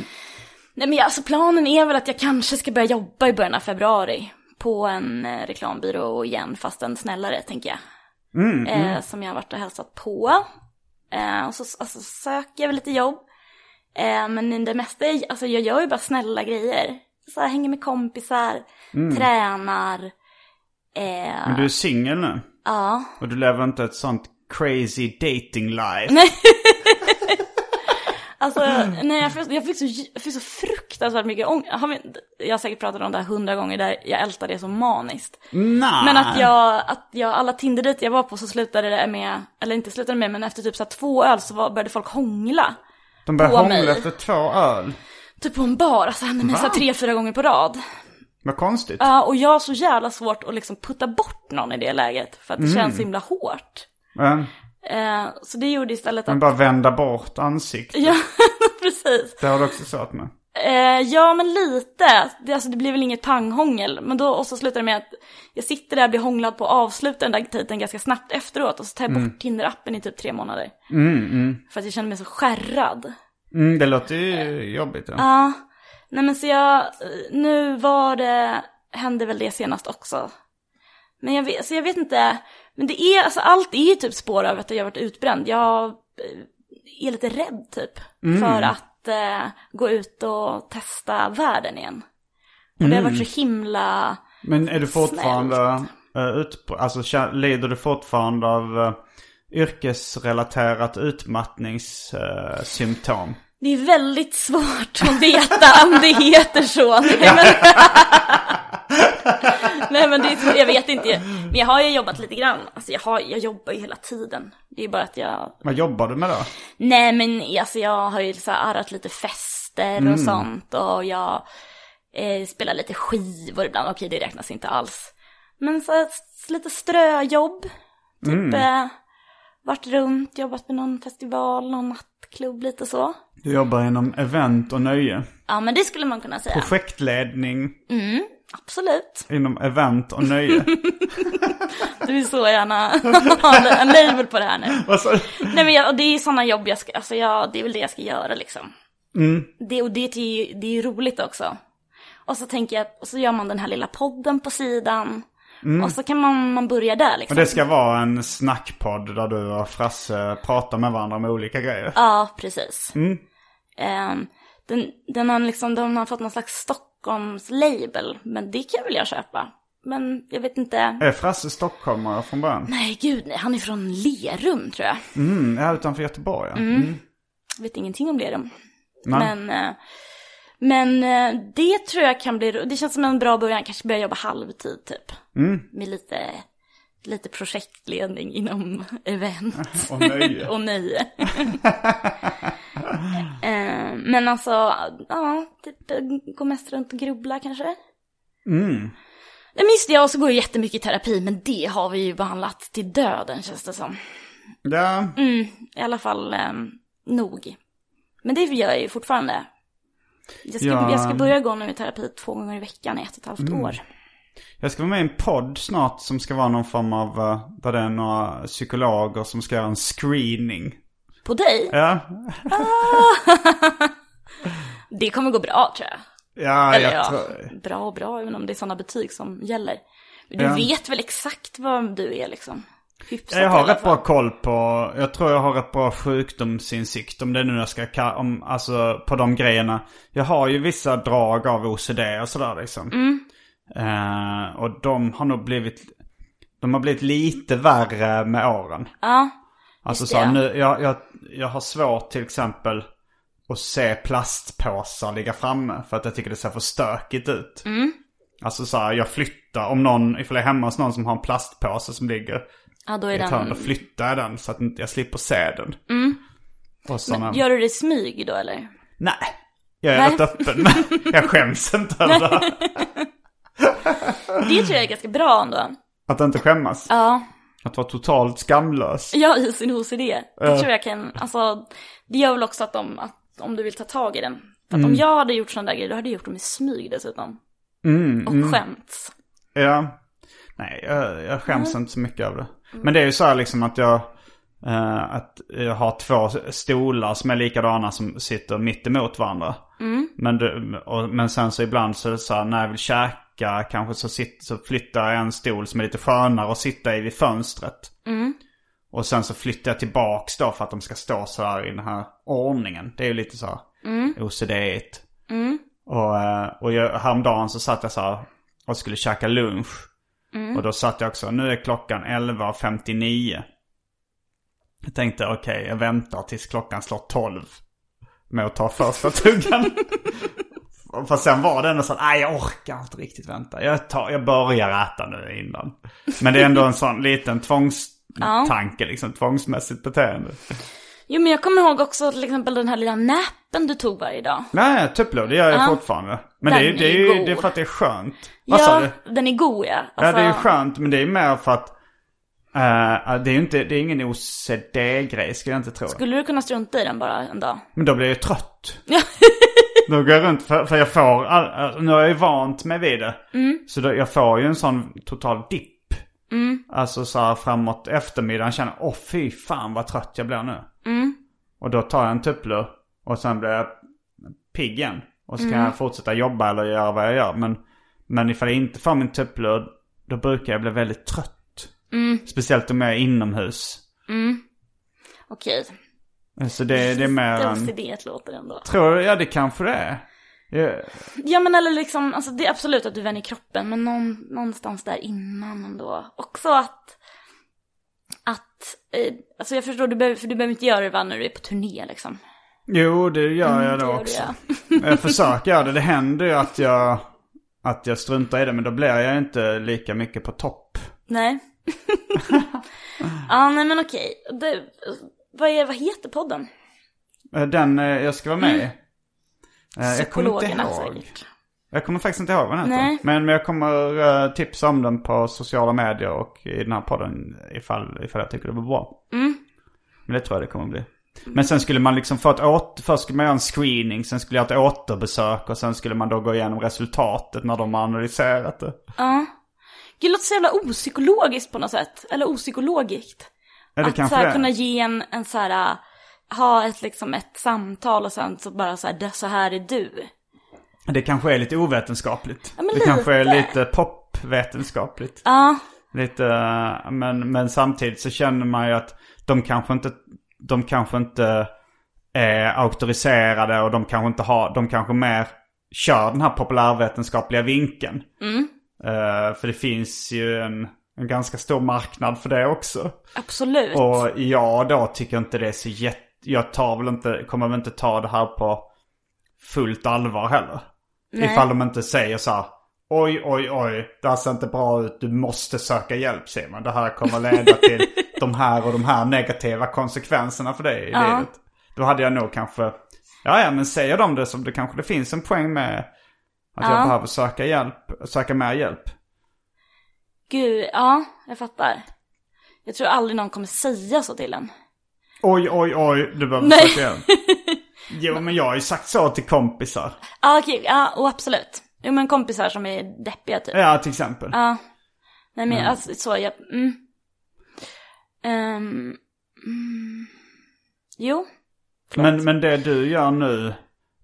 Speaker 3: men jag, alltså planen är väl att jag kanske ska börja jobba i början av februari på en eh, reklambyrå igen, fast en snällare tänker jag. eh, som jag har varit och hälsat på. Eh, och så alltså, söker jag väl lite jobb. Eh, men det mesta, är- alltså jag gör ju bara snälla grejer. Så här, hänger med kompisar, tränar. Eh,
Speaker 2: Men du är singel nu.
Speaker 3: ja.
Speaker 2: Och du lever inte ett sånt crazy dating life.
Speaker 3: Alltså, nej, jag, fick, jag, fick så, jag fick så fruktansvärt mycket ångest. Jag, har- jag har säkert pratat om det här hundra gånger där jag ältar det så maniskt.
Speaker 2: Nej.
Speaker 3: Men att jag, att jag alla tinder dit jag var på så slutade det med, eller inte slutade med, men efter typ så här två öl så var, började folk hångla.
Speaker 2: De börjar
Speaker 3: på
Speaker 2: hångla
Speaker 3: mig.
Speaker 2: efter två öl.
Speaker 3: Typ på en bar, alltså hände mig så här tre, fyra gånger på rad.
Speaker 2: Vad konstigt.
Speaker 3: Ja, och jag har så jävla svårt att liksom putta bort någon i det läget, för att det känns så himla hårt.
Speaker 2: Ja,
Speaker 3: Eh, så det gjorde istället
Speaker 2: Men
Speaker 3: att,
Speaker 2: bara vända bort ansiktet.
Speaker 3: ja, precis.
Speaker 2: Det har du också svårt med.
Speaker 3: Eh, ja, men lite. Det, alltså, det blir väl inget panghångel. Men då, och så slutar det med att jag sitter där, blir hånglad på och avslutar den där titeln ganska snabbt efteråt. Och så tar jag bort Tinder-appen i typ tre månader. För att jag känner mig så skärrad.
Speaker 2: Mm, det låter ju jobbigt. Ja.
Speaker 3: Ja, nej men så jag, eh, nu var det, hände väl det senast också. Men jag vet, så jag vet inte, men det är, alltså allt är ju typ spår av att jag har varit utbränd. Jag eh, är lite rädd typ för att eh, gå ut och testa världen igen. Och det har varit så himla,
Speaker 2: Men är du fortfarande uh, ut, alltså kä- lider du fortfarande av eh, yrkesrelaterat utmattningssymptom?
Speaker 3: det är väldigt svårt att veta om det heter så. Nej men, Nej, men det, är- jag vet inte, men jag har ju jobbat lite grann. Alltså jag, har, jag jobbar ju hela tiden. Det är bara att jag
Speaker 2: Vad jobbar du med då?
Speaker 3: Nej men alltså jag har ju så här arrat lite fester och sånt och jag eh, spelar lite skivor ibland, okej det räknas inte alls. Men så här, s- lite ströjobb, typ eh, varit runt, jobbat med någon festival, någon nattklubb lite så.
Speaker 2: Du jobbar inom event och nöje.
Speaker 3: Ja men det skulle man kunna säga,
Speaker 2: Projektledning
Speaker 3: absolut.
Speaker 2: inom event och nöje.
Speaker 3: Du vill så gärna ha en label på det här nu.
Speaker 2: Vad sa du?
Speaker 3: Nej men jag, och det är sådana jobb jag ska, alltså jag, det är väl det jag ska göra liksom. Det, och det är, ju, det är ju roligt också. Och så tänker jag, och så gör man den här lilla podden på sidan. Och så kan man, man börja där liksom.
Speaker 2: Och det ska vara en snackpodd där du och Frasse pratar med varandra om olika grejer.
Speaker 3: Ja, precis. Ehm, den, den har liksom, de har fått någon slags Stockholms-label, men det kan väl jag köpa. Men jag vet inte.
Speaker 2: Är Frasse stockholmare från början?
Speaker 3: Nej, gud nej, han är från Lerum tror jag.
Speaker 2: Mm, ja, utanför Göteborg ja. Mm.
Speaker 3: Jag vet ingenting om Lerum.
Speaker 2: Nej.
Speaker 3: Men, eh, men eh, det tror jag kan bli, ro- det känns som en bra början, kanske börja jobba halvtid typ.
Speaker 2: Mm.
Speaker 3: Med lite, lite projektledning inom event
Speaker 2: Och nöje.
Speaker 3: och nöje. Eh, men alltså, ja, typ eh, gå mest runt och grubbla kanske. Mm. Nej, men just det, jag så går jag jättemycket i terapi, men det har vi ju behandlat till döden känns det som.
Speaker 2: Ja,
Speaker 3: Mm. I alla fall eh, nog. Men det gör jag ju fortfarande. Jag ska,
Speaker 2: Ja. Mm.
Speaker 3: jag ska börja gå nu i terapi två gånger i veckan i ett och ett halvt år.
Speaker 2: Jag ska vara med i en podd snart som ska vara någon form av, eh, där det är några psykologer som ska göra en screening.
Speaker 3: På dig?
Speaker 2: Ja,
Speaker 3: Det kommer gå bra tror jag.
Speaker 2: ja
Speaker 3: Eller
Speaker 2: jag
Speaker 3: ja,
Speaker 2: tror...
Speaker 3: bra och bra, även om det är sådana betyg som gäller. Men du
Speaker 2: Ja.
Speaker 3: vet väl exakt vad du är liksom? Hyfsat
Speaker 2: Jag
Speaker 3: i
Speaker 2: har
Speaker 3: alla
Speaker 2: rätt
Speaker 3: fall.
Speaker 2: bra koll på, jag tror jag har rätt bra sjukdomsinsikt om det nu jag ska ka- om, alltså på de grejerna. Jag har ju vissa drag av OCD och sådär liksom.
Speaker 3: Mm.
Speaker 2: Eh, och de har nog blivit, de har blivit lite värre med åren.
Speaker 3: Ja,
Speaker 2: Alltså
Speaker 3: Just
Speaker 2: så här,
Speaker 3: det.
Speaker 2: nu, jag, jag, jag har svårt till exempel att se plastpåsar ligga framme för att jag tycker det ser för stökigt ut.
Speaker 3: Mm.
Speaker 2: Alltså så här, jag flyttar, om någon, ifall jag är hemma hos någon som har en plastpåse som ligger
Speaker 3: ja då är
Speaker 2: i ett hörn, då
Speaker 3: den... Mm.
Speaker 2: flyttar jag den så att inte jag slipper se den. Och sådana...
Speaker 3: Gör du det i smyg då eller?
Speaker 2: Nej, jag är
Speaker 3: Nej.
Speaker 2: rätt öppen. jag skäms inte över det. här.
Speaker 3: Det tror jag är ganska bra ändå.
Speaker 2: Att inte skämmas.
Speaker 3: Ja,
Speaker 2: Att vara totalt skamlös.
Speaker 3: Ja, i sin OCD. Det tror jag kan, alltså det gör väl också att, de, att om du vill ta tag i den. För att
Speaker 2: Mm.
Speaker 3: om jag hade gjort sådana där grejer, då hade jag gjort dem i smyg dessutom.
Speaker 2: Mm,
Speaker 3: och skämts.
Speaker 2: Ja. Nej, jag, jag skäms inte så mycket över det. Men det är ju så här liksom att jag, eh, att jag har två stolar som är likadana som sitter mitt emot varandra. Men, det, och, men sen så ibland så är det så här, när jag vill käka kanske så, sitt, så flyttar jag en stol som är lite skönare att sitta i vid fönstret. Och sen så flyttar jag tillbaks då för att de ska stå så här i den här ordningen. Det är ju lite så här OCD-igt. Och, eh, och jag, häromdagen så satt jag så här och skulle käka lunch.
Speaker 3: Mm.
Speaker 2: Och då satt jag också, nu är klockan 11.59. Jag tänkte okej, jag väntar tills klockan slår 12. Med att ta första tuggan. Fast sen var det ändå så att, nej jag orkar inte riktigt vänta. Jag, tar, jag börjar äta nu innan. Men det är ändå en sån liten tvångstanke, liksom tvångsmässigt beteende.
Speaker 3: Jo men jag kommer ihåg också till exempel den här lilla nappen du tog varje dag.
Speaker 2: Nej, tupplur, det gör jag fortfarande. Men det är, ju-
Speaker 3: Den
Speaker 2: det, är
Speaker 3: är
Speaker 2: ju,
Speaker 3: god.
Speaker 2: det är för att det är skönt. Vad sa du?
Speaker 3: ja, den är god ja.
Speaker 2: Ja,
Speaker 3: Alltså,
Speaker 2: det är ju skönt, men det är mer för att... eh, det är ju inte, det är ingen OCD-grej skulle jag inte tro.
Speaker 3: Skulle du kunna strunta i den bara en dag?
Speaker 2: Men då blir jag ju trött. Nu går jag runt för, för jag får, all, all- nu har jag ju vant mig vid det. Så då, jag får ju en sån total dipp. Alltså så här framåt eftermiddagen känner åh fy fan vad trött jag blir nu. Och då tar jag en tupplur och sen blir jag pigg igen. Och så kan jag fortsätta jobba eller göra vad jag gör. Men, men ifall jag inte får min tupplur då brukar jag bli väldigt trött. Speciellt om jag är inomhus.
Speaker 3: Okej.
Speaker 2: Så det, det är mer en...
Speaker 3: OCD låter ändå.
Speaker 2: Tror du? Ja, det kanske det är. Ja,
Speaker 3: Ja men eller liksom, alltså det är absolut att du vänjer kroppen men någon, någonstans där innan ändå. Också att, att, eh, alltså jag förstår, du behöver, för du behöver inte göra det va, när du är på turné liksom.
Speaker 2: Jo, det gör jag
Speaker 3: Mm, Det
Speaker 2: då
Speaker 3: gör du,
Speaker 2: också.
Speaker 3: ja.
Speaker 2: Jag försöker göra det. Det händer ju att jag, att jag struntar i det, men då blir jag inte lika mycket på topp.
Speaker 3: Nej. ja nej men okej. Det, vad, är, vad heter podden?
Speaker 2: Eh, Den eh, jag ska vara med i. Eh, Jag kommer inte
Speaker 3: Mm. Psykologerna
Speaker 2: ihåg.
Speaker 3: säkert.
Speaker 2: Jag kommer faktiskt inte ihåg vad den heter.
Speaker 3: Nej.
Speaker 2: Men jag kommer eh, tipsa om den på sociala medier och i den här podden ifall, ifall jag tycker det blir bra.
Speaker 3: Mm.
Speaker 2: Men det tror jag det kommer bli. Men sen skulle man liksom få ett åter... Först skulle man göra en screening, sen skulle jag ha ett återbesök och sen skulle man då gå igenom resultatet när de har analyserat det.
Speaker 3: Ja. Gud, det låter så jävla opsykologiskt på något sätt. Eller opsykologiskt.
Speaker 2: Eller
Speaker 3: att så
Speaker 2: kanske
Speaker 3: här,
Speaker 2: det. är.
Speaker 3: kunna ge en, en så här, äh, ha ett liksom ett samtal och sen så bara så här, det, så här är du.
Speaker 2: Det kanske är lite ovetenskapligt.
Speaker 3: Ja, men
Speaker 2: det kanske är
Speaker 3: lite.
Speaker 2: lite popvetenskapligt.
Speaker 3: Ja,
Speaker 2: Lite, eh, men, men samtidigt så känner man ju att de kanske inte, de kanske inte är auktoriserade och de kanske inte har, de kanske mer kör den här populärvetenskapliga vinkeln. Eh, för det finns ju en, en ganska stor marknad för det också.
Speaker 3: absolut.
Speaker 2: Och jag då tycker inte det är så jätte... Jag tar väl inte, kommer väl inte ta det här på fullt allvar heller. Ifall de inte säger så här. Oj, oj, oj. Det här ser inte bra ut. Du måste söka hjälp Simon. Det här kommer leda till de här och de här negativa konsekvenserna för dig i livet. Då hade jag nog kanske... Ja, ja, men säger de det som det kanske det finns en poäng med. Att jag behöver söka hjälp, söka mer hjälp.
Speaker 3: Gud, ja, jag fattar. Jag tror aldrig någon kommer säga så till en.
Speaker 2: Oj, oj, oj, du behöver
Speaker 3: Nej.
Speaker 2: söka hjälp. Jo, men jag har ju sagt så till kompisar.
Speaker 3: Ja, okej, ja, och absolut. Jo, men kompisar som är deppiga typ.
Speaker 2: Ja, till exempel.
Speaker 3: Ja. Nej men alltså så, jag, mm. Ehm, mm. Jo.
Speaker 2: men, men det du gör nu,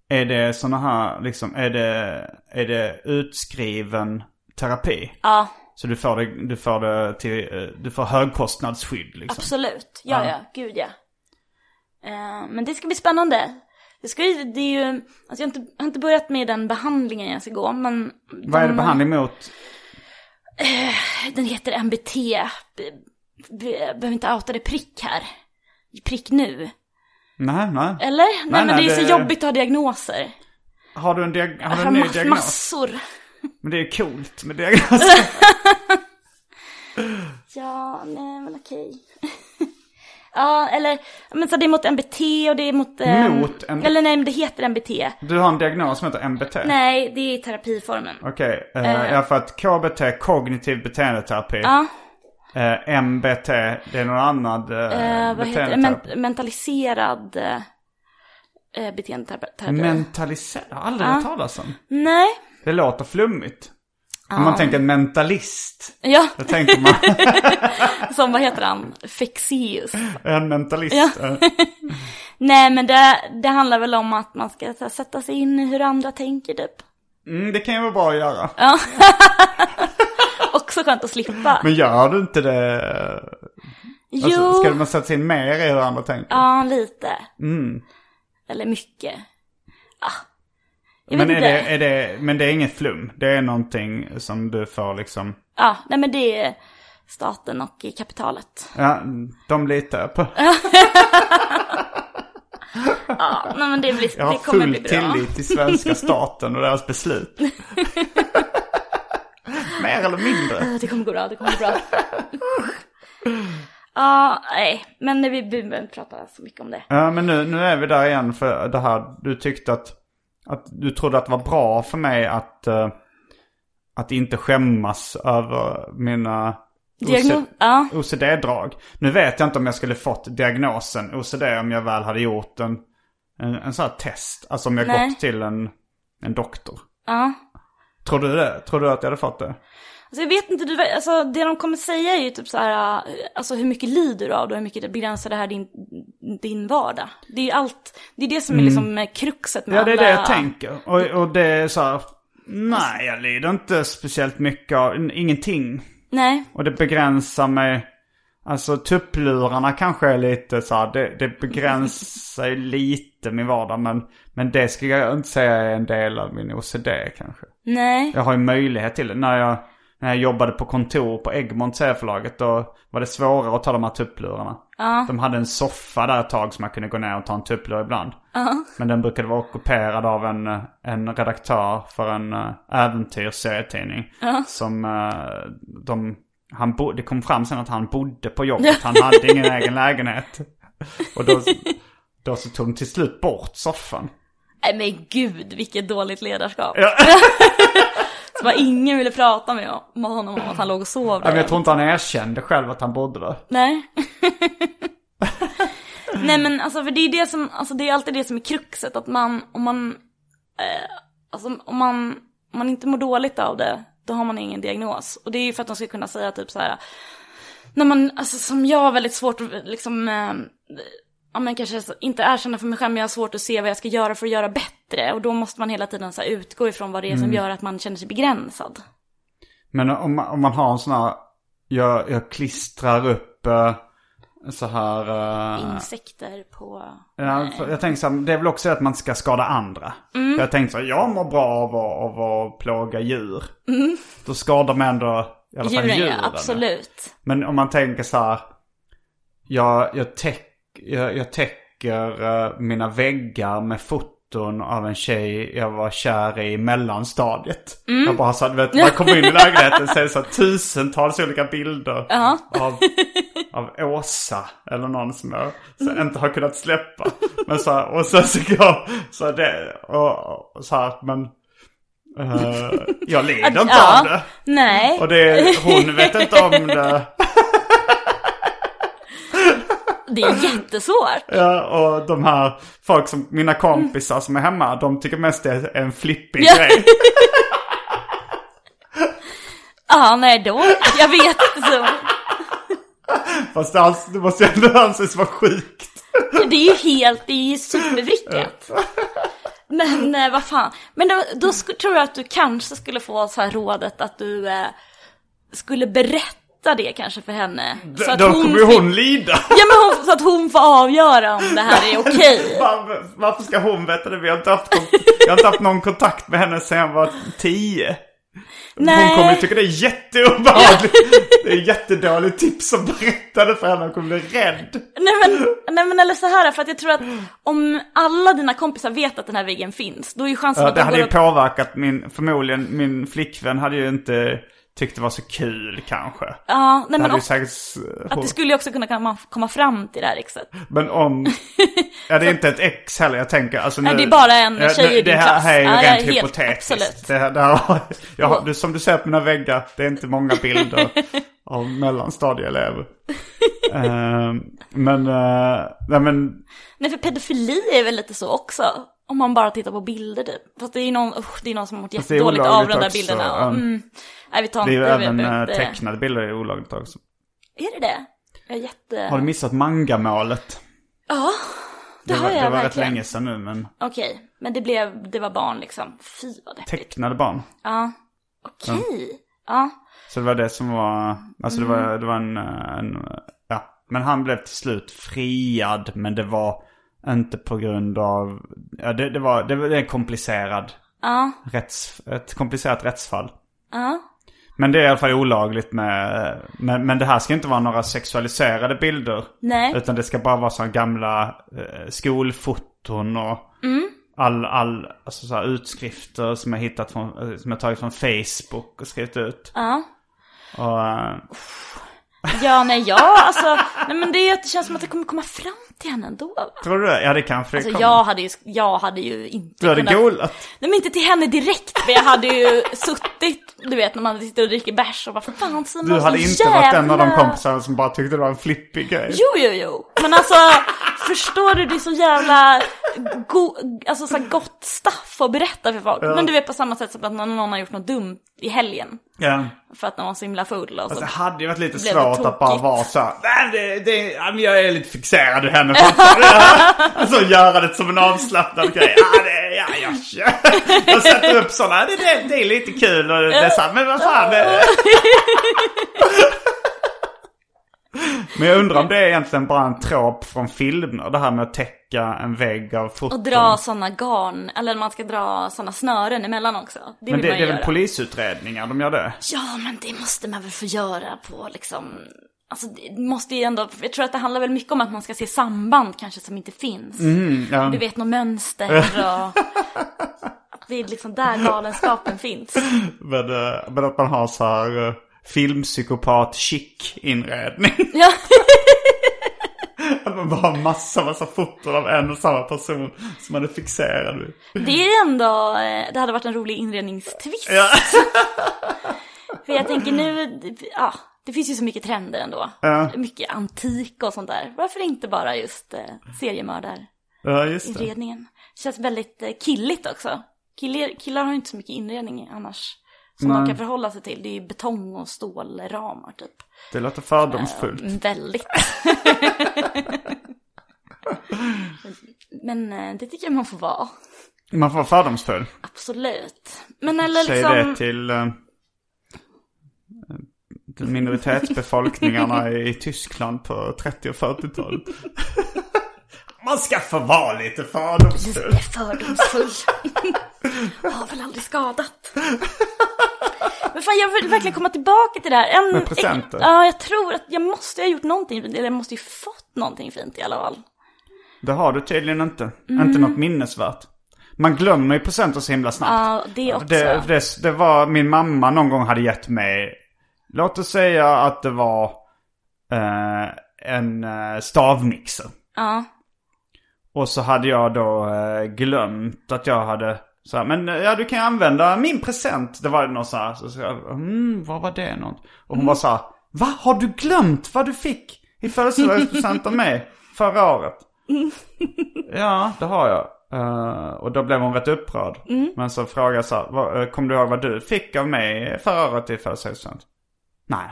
Speaker 2: är det såna här, liksom, är det, är det utskriven terapi?
Speaker 3: Ja,
Speaker 2: Så du får det, du får det till, eh, du får högkostnadsskydd liksom?
Speaker 3: absolut. Ja,
Speaker 2: Ja.
Speaker 3: ja, gud ja. Eh, men det ska bli spännande. Det, ska ju, det är ju, alltså jag har inte, jag har inte börjat med den behandlingen jag ska gå, men...
Speaker 2: Vad är det
Speaker 3: de-
Speaker 2: behandling mot?
Speaker 3: Den heter MBT. B- b- jag Behöver inte outa det prick här. Prick nu.
Speaker 2: Nej, nej.
Speaker 3: Eller? Nej, men
Speaker 2: nej,
Speaker 3: det är
Speaker 2: det-
Speaker 3: så jobbigt att ha diagnoser.
Speaker 2: Har du en, diag- har du
Speaker 3: Jag
Speaker 2: en
Speaker 3: har
Speaker 2: ny
Speaker 3: ma-
Speaker 2: diagnos?
Speaker 3: massor.
Speaker 2: Men det är ju coolt med diagnoser.
Speaker 3: Ja, nej men okej. ja, eller, men så det är mot MBT och det är mot... ehm,
Speaker 2: Mot en-
Speaker 3: Eller nej, men det heter MBT.
Speaker 2: Du har en diagnos som heter MBT?
Speaker 3: Nej, det är terapiformen.
Speaker 2: Okej, okay, ja för att KBT, kognitiv beteendeterapi.
Speaker 3: Ja,
Speaker 2: Eh, MBT, det är någon annan
Speaker 3: eh,
Speaker 2: eh,
Speaker 3: vad heter det?
Speaker 2: beteendeterapi.
Speaker 3: Men, mentaliserad eh, eh, beteendeterapi.
Speaker 2: Mentalisera? Jag har aldrig hört talas om.
Speaker 3: Nej,
Speaker 2: Det låter flummigt. Om man tänker mentalist.
Speaker 3: ja,
Speaker 2: Då tänker man
Speaker 3: som vad heter han? Fexeus.
Speaker 2: en mentalist. Eh,
Speaker 3: Nej, men det, det handlar väl om att man ska så här, sätta sig in i hur andra tänker typ.
Speaker 2: Mm, det kan ju vara bra att göra.
Speaker 3: Också skönt att slippa.
Speaker 2: Men gör du inte det? Alltså,
Speaker 3: jo,
Speaker 2: ska man sätta sig in mer i hur andra tänker?
Speaker 3: ja, lite.
Speaker 2: Mm.
Speaker 3: Eller mycket. Ah, jag
Speaker 2: men,
Speaker 3: vet
Speaker 2: är
Speaker 3: inte.
Speaker 2: det, är det, men det är inget flum. Det är någonting som du får liksom...
Speaker 3: Ja, nej men det är staten och kapitalet.
Speaker 2: Ja, de litar jag på.
Speaker 3: Ja, nej men det, blir,
Speaker 2: Jag har
Speaker 3: det kommer
Speaker 2: full
Speaker 3: bli bra.
Speaker 2: tillit till svenska staten och deras beslut. mer eller mindre.
Speaker 3: Ja, Det kommer gå bra, det kommer gå bra. Ja, nej, men vi behöver inte prata så mycket om det.
Speaker 2: Ja, men nu, nu är vi där igen för det här. Du tyckte att, att du trodde att det var bra för mig att, eh, att inte skämmas över mina
Speaker 3: Diagnos, ja.
Speaker 2: OCD-drag. Nu vet jag inte om jag skulle fått diagnosen OCD om jag väl hade gjort en, en, en sån här test. Alltså om jag
Speaker 3: Nej.
Speaker 2: gått till en, en doktor.
Speaker 3: Ja.
Speaker 2: Tror du det? Tror du att jag hade fått det?
Speaker 3: Alltså jag vet inte, du, alltså det de kommer säga är ju typ så här, eh, alltså hur mycket lider du av det och hur mycket det begränsar det här din, din vardag. Det är ju allt, det är det som är liksom eh, kruxet med
Speaker 2: Mm. Ja, det är det
Speaker 3: alla...
Speaker 2: jag tänker. Och, och det är så här, nej jag lider inte speciellt mycket av, in- ingenting.
Speaker 3: Nej,
Speaker 2: Och det begränsar mig. Alltså tupplurarna kanske är lite så här, det, det begränsar ju lite min vardag. Men, men det skulle jag inte säga är en del av min OCD kanske.
Speaker 3: nej,
Speaker 2: Jag har ju möjlighet till det. När jag, när jag jobbade på kontor på Egmont C-förlaget då var det svårare att ta de här tupplurarna. De hade en soffa där ett tag som jag kunde gå ner och ta en tupplur ibland. Men den brukade vara ockuperad av en, eh, en redaktör för en eh, äventyrsserietidning. Som eh, de, han bo, det kom fram sen att han bodde på jobbet. Han hade ingen egen lägenhet. Och då, då så tog de till slut bort soffan.
Speaker 3: nej men gud vilket dåligt ledarskap. så bara ingen ville prata med hon- med honom om att han låg och sov
Speaker 2: Nej, men
Speaker 3: där.
Speaker 2: Jag tror inte han erkände själv att han bodde där.
Speaker 3: Nej. Nej men alltså för det är det som, alltså det är alltid det som är kruxet att man, om man, eh, alltså om man, om man inte mår dåligt av det, då har man ingen diagnos. Och det är ju för att de ska kunna säga typ så här, när man, alltså som jag har väldigt svårt att liksom, eh, ja men kanske så- inte erkänna för mig själv, men jag har svårt att se vad jag ska göra för att göra bättre. Och då måste man hela tiden så här utgå ifrån vad det är som gör att man känner sig begränsad.
Speaker 2: Men om, man- om man har en sån här, jag, jag klistrar upp eh, så här... eh,
Speaker 3: Insekter på...
Speaker 2: ja, för jag tänker så här, det är väl också att man ska skada andra.
Speaker 3: Mm.
Speaker 2: Jag tänkte så här, jag mår bra av att, av att plåga djur. Då skadar man ändå i alla fall
Speaker 3: Mm. Djuren,
Speaker 2: djuren.
Speaker 3: ja, absolut.
Speaker 2: Men om man tänker så här, jag, jag, täck, jag, jag täcker eh, mina väggar med foton av en tjej jag var kär i i mellanstadiet. Jag bara så här, du vet, man kommer in i lägenheten och ser så här, tusentals olika bilder av, av Åsa eller någon som jag så här, inte har kunnat släppa. Men så här, och sen så jag, så här, det, och, och så här, men eh, jag lider inte
Speaker 3: Ja.
Speaker 2: av det.
Speaker 3: Nej.
Speaker 2: Och det, hon vet inte om det.
Speaker 3: Det är jättesvårt.
Speaker 2: Ja, och de här folk som, mina kompisar som är hemma, de tycker mest det är en flippig
Speaker 3: Ja.
Speaker 2: grej.
Speaker 3: Ja, nej då. Jag vet inte. Så.
Speaker 2: Fast det, alls, det måste ju ändå anses vara sjukt.
Speaker 3: Det är ju helt, det är ju supervrickat. Men eh, vad fan. Men då, då sku, tror jag att du kanske skulle få så här rådet att du eh, skulle berätta det kanske för henne. Så att
Speaker 2: Då kommer ju
Speaker 3: fick-
Speaker 2: hon lida.
Speaker 3: Ja men hon, så att hon får avgöra om det här är okej.
Speaker 2: Var, varför ska hon veta det? Vi har inte haft, kon- jag har inte haft någon kontakt med henne sedan jag var tio. Hon kommer ju
Speaker 3: Nej.
Speaker 2: tycka det är jätteobehagligt. Det är jättedåligt tips som berättade för henne. Hon kommer bli rädd.
Speaker 3: Nej men, nej men eller så här för att jag tror att om alla dina kompisar vet att den här väggen finns, då är ju chansen
Speaker 2: Ja,
Speaker 3: att
Speaker 2: det
Speaker 3: de
Speaker 2: hade
Speaker 3: går
Speaker 2: ju
Speaker 3: och-
Speaker 2: påverkat min, förmodligen min flickvän hade ju inte tyckt det var så kul kanske.
Speaker 3: Ja, nej
Speaker 2: Det
Speaker 3: men
Speaker 2: hade ju
Speaker 3: och,
Speaker 2: säkert...
Speaker 3: att det skulle ju också kunna komma- komma fram till det här exet.
Speaker 2: Men om... Ja, det är inte ett ex heller jag tänker. Alltså, nu,
Speaker 3: Nej, det är bara en
Speaker 2: Ja,
Speaker 3: tjej
Speaker 2: nu-
Speaker 3: i din
Speaker 2: Det här,
Speaker 3: klass.
Speaker 2: här är ju
Speaker 3: Ja, jag är
Speaker 2: rent
Speaker 3: helt-
Speaker 2: hypotetiskt.
Speaker 3: absolut.
Speaker 2: Det här, det här, har- jag har, du, som du ser på mina väggar, det är inte många bilder av mellanstadieelever. Eh, men, eh, nej men,
Speaker 3: Nej för pedofili är väl lite så också. Om man bara tittar på bilder typ. Fast det är ju någon, usch, det är någon som har mått
Speaker 2: det är
Speaker 3: jättedåligt av
Speaker 2: olagligt
Speaker 3: de där
Speaker 2: också,
Speaker 3: bilderna.
Speaker 2: ja.
Speaker 3: Mm. Nej vi tar
Speaker 2: det är
Speaker 3: inte,
Speaker 2: ju
Speaker 3: vi
Speaker 2: även
Speaker 3: behöver
Speaker 2: eh,
Speaker 3: inte-
Speaker 2: tecknade bilder är olagligt också.
Speaker 3: Är det det? Jag är jätte...
Speaker 2: Har du missat mangamålet?
Speaker 3: Ja, det,
Speaker 2: var,
Speaker 3: har jag
Speaker 2: det var rätt
Speaker 3: verkligen.
Speaker 2: länge sedan nu, men
Speaker 3: Okej, men det blev, det var barn liksom. Fy vad deppigt.
Speaker 2: tecknade barn.
Speaker 3: Ja. Okej. Ja.
Speaker 2: Så det var det som var, alltså det
Speaker 3: Mm.
Speaker 2: var, det var en, en, ja. Men han blev till slut friad, men det var inte på grund av, ja det, det var, det var det är en komplicerad,
Speaker 3: Ja.
Speaker 2: rätts, ett komplicerat rättsfall.
Speaker 3: Ja.
Speaker 2: Men det är i alla fall olagligt med, men, men det här ska inte vara några sexualiserade bilder.
Speaker 3: Nej.
Speaker 2: Utan det ska bara vara sådana gamla eh, skolfoton och
Speaker 3: Mm.
Speaker 2: all, all, alltså så här utskrifter som jag hittat från, eh, som jag tagit från Facebook och skrivit ut.
Speaker 3: Ja.
Speaker 2: Och, eh,
Speaker 3: Ja, nej, ja, alltså, nej men det, är att det känns som att det kommer komma fram till henne ändå va?
Speaker 2: Tror du det? Ja, det kanske det
Speaker 3: Alltså
Speaker 2: kommer.
Speaker 3: jag hade ju, jag hade ju inte
Speaker 2: Du hade golat.
Speaker 3: Nej men inte till henne direkt, men jag hade ju suttit, du vet när man sitter och dricker bärs och bara fan Simon,
Speaker 2: Du hade
Speaker 3: så
Speaker 2: inte varit en av de
Speaker 3: jävla-
Speaker 2: kompisarna som bara tyckte det var en flippig grej.
Speaker 3: Jo, jo, jo. Men alltså, förstår du? Det är så jävla go- alltså, så här gott stuff att berätta för folk. Men du vet på samma sätt som att någon, någon har gjort något dumt i helgen.
Speaker 2: Ja.
Speaker 3: För att den var så himla full och så.
Speaker 2: Alltså, det hade ju varit lite
Speaker 3: Blev det
Speaker 2: svårt att bara
Speaker 3: tokigt?
Speaker 2: vara så här, Nej, det, det, ja, men jag är lite fixerad i henne fortfarande." Alltså göra det som en avslappnad grej. Ja, det, ja, jag kör. Jag sätter upp sådana. Det, det, det är lite kul och det är så här, men vad fan. Det... Men jag undrar om det är egentligen bara en trop från filmer. Det här med att täcka en vägg av foton.
Speaker 3: Och dra sådana garn, eller man ska dra sådana snören emellan också. Det
Speaker 2: Men
Speaker 3: vill
Speaker 2: det, det
Speaker 3: man ju
Speaker 2: är väl
Speaker 3: göra.
Speaker 2: polisutredningar de gör det?
Speaker 3: Ja, men det måste man väl få göra på liksom... Alltså det måste ju ändå, jag tror att det handlar väl mycket om att man ska se samband kanske som inte finns.
Speaker 2: Mm, ja.
Speaker 3: Du vet något mönster och... att Det är liksom där galenskapen finns.
Speaker 2: Men, eh, men att man har så här eh, filmpsykopat chic inredning.
Speaker 3: Ja.
Speaker 2: Att man bara har massa, massa foton av en och samma person som man är fixerad vid.
Speaker 3: Det är ändå, eh, det hade varit en rolig inredningstvist.
Speaker 2: Ja.
Speaker 3: För jag tänker nu, ja, det finns ju så mycket trender ändå.
Speaker 2: Ja.
Speaker 3: Mycket antik och sånt där. Varför inte bara just eh, seriemördarinredningen?
Speaker 2: Ja, just det.
Speaker 3: Känns väldigt eh, killigt också. Killar, killar har ju inte så mycket inredning annars. Som
Speaker 2: Nej.
Speaker 3: de kan förhålla sig till. Det är ju betong och stålramar typ.
Speaker 2: Det låter fördomsfullt.
Speaker 3: Väldigt. Men eh, det tycker jag man får vara.
Speaker 2: Man får vara fördomsfull.
Speaker 3: Absolut. Men eller
Speaker 2: Säg
Speaker 3: liksom...
Speaker 2: det till, eh, till minoritetsbefolkningarna i Tyskland på 30 och 40-talet. Man ska få vara lite fördomsfull.
Speaker 3: Lite fördomsfull. Har väl aldrig skadat. Men fan, jag vill verkligen komma tillbaka till det här. En,
Speaker 2: Med presenter?
Speaker 3: Ja, jag tror att jag måste ha gjort någonting fint. Eller jag måste ju fått någonting fint i alla fall.
Speaker 2: Det har du tydligen inte.
Speaker 3: Mm.
Speaker 2: Inte något minnesvärt. Man glömmer ju presenter så himla snabbt.
Speaker 3: Ja, det också.
Speaker 2: Det, det, det var min mamma någon gång hade gett mig, låt oss säga att det var eh, en eh, stavmixer.
Speaker 3: Ja.
Speaker 2: Och så hade jag då eh, glömt att jag hade så här, men eh, ja du kan använda min present. Det var någon så här, så, så jag, mm, vad var det något? Och hon var så här, va har du glömt vad du fick i födelsedagspresent av mig förra året? ja, det har jag. Eh, och då blev hon rätt upprörd. Men så frågade jag så här, "Vad, eh, kommer du ihåg vad du fick av mig förra året i födelsedagspresent? Nej.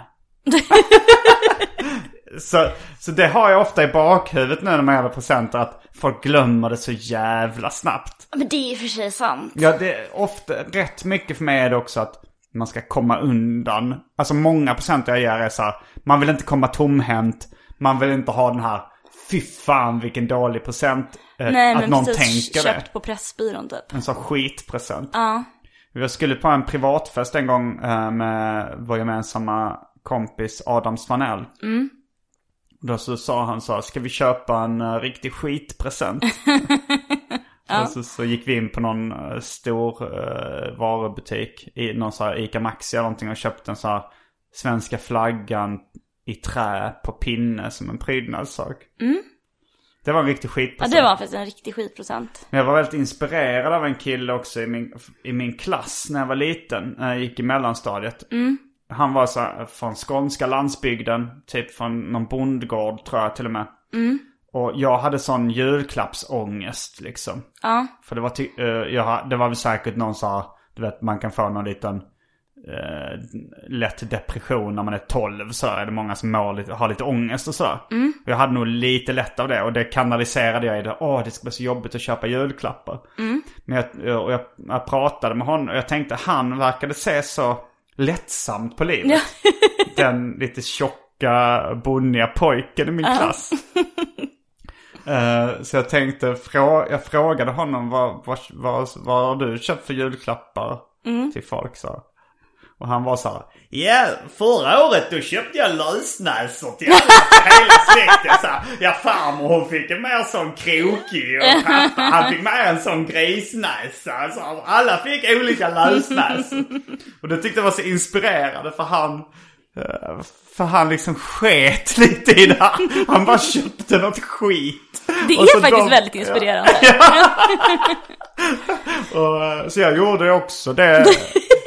Speaker 2: Så, så det har jag ofta i bakhuvudet nu när man gör presenter att folk glömmer det så jävla snabbt.
Speaker 3: Men det är i och för sig sant.
Speaker 2: Ja, det är ofta, rätt mycket för mig är det också att man ska komma undan. Alltså många presenter jag ger är så här, man vill inte komma tomhänt, man vill inte ha den här Fy fan vilken dålig present. Eh,
Speaker 3: Nej,
Speaker 2: att
Speaker 3: men
Speaker 2: någon
Speaker 3: precis.
Speaker 2: tänker det.
Speaker 3: Köpt på Pressbyrån typ.
Speaker 2: En sån skitpresent. Ja. Jag skulle på en privatfest en gång eh, med vår gemensamma kompis Adam Svanell.
Speaker 3: Mm.
Speaker 2: Då så sa han så här, ska vi köpa en eh, riktig skitpresent? Och så, så gick vi in på någon eh, stor eh, varubutik, i någon så här Ica Maxi eller någonting och köpte en så här svenska flaggan i trä på pinne som en prydnadssak. Det var en riktig
Speaker 3: Mm. Ja,
Speaker 2: skitpresent.
Speaker 3: det var faktiskt en riktig skitprocent.
Speaker 2: Men jag var väldigt inspirerad av en kille också i min, i min klass när jag var liten. När jag gick i mellanstadiet. Han var så här, från skånska landsbygden. Typ från någon bondgård tror jag till och med. Och jag hade sån julklappsångest liksom.
Speaker 3: Ja.
Speaker 2: För det var, ty- eh, jag, ha- det var väl säkert någon så här, du vet man kan få någon liten eh, lätt depression när man är 12 så här, är det många som mår lite, har lite ångest och så. här. Och jag hade nog lite lätt av det och det kanaliserade jag i det, åh det ska bli så jobbigt att köpa julklappar. Men jag, och jag, jag pratade med honom och jag tänkte han verkade se så lättsamt på livet. Den lite tjocka, bonniga pojken i min klass. Eh, så jag tänkte, frå- jag frågade honom vad, vad, vad, vad har du köpt för julklappar till folk så här. Och han var så här, ja förra året då köpte jag lösnäsor till alla, hela släkten så här. Ja farmor hon fick en mer sån krokig och pappa han fick med en sån grisnäsa. Så här. alla fick olika lösnäsor. Och det tyckte jag var så inspirerande för han eh, för han liksom sket lite i det här. Han bara köpte något skit.
Speaker 3: Det
Speaker 2: Och så
Speaker 3: är faktiskt
Speaker 2: de-
Speaker 3: väldigt inspirerande.
Speaker 2: Och, eh, så jag gjorde också det.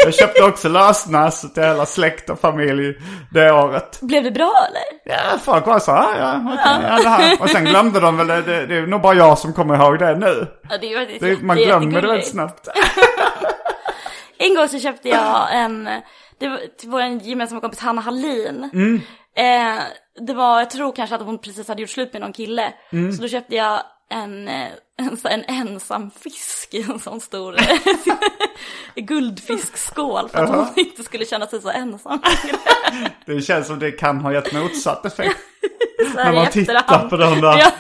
Speaker 2: Jag köpte också lösnäs till hela släkt och familj det året.
Speaker 3: Blev det bra eller?
Speaker 2: Ja, folk var så här, "Ah, ja, okej, ja, det här. Och sen glömde de väl, det, det, det är nog bara jag som kommer ihåg det nu.
Speaker 3: Ja, det är ju faktiskt
Speaker 2: Det, man
Speaker 3: jätte-
Speaker 2: glömmer det väldigt
Speaker 3: jättegulligt.
Speaker 2: snabbt.
Speaker 3: En gång så köpte jag en, det var till vår gemensamma kompis Hanna Hallin.
Speaker 2: Mm.
Speaker 3: Eh, det var, jag tror kanske att hon precis hade gjort slut med någon kille.
Speaker 2: Mm.
Speaker 3: Så då köpte jag en, eh, en, så- en ensam fisk i en sån stor guldfiskskål för att hon inte skulle känna sig så ensam.
Speaker 2: Det känns som det kan ha gett motsatt effekt.
Speaker 3: Så här
Speaker 2: När man
Speaker 3: i
Speaker 2: tittar
Speaker 3: efterhand.
Speaker 2: på den där.
Speaker 3: Ja.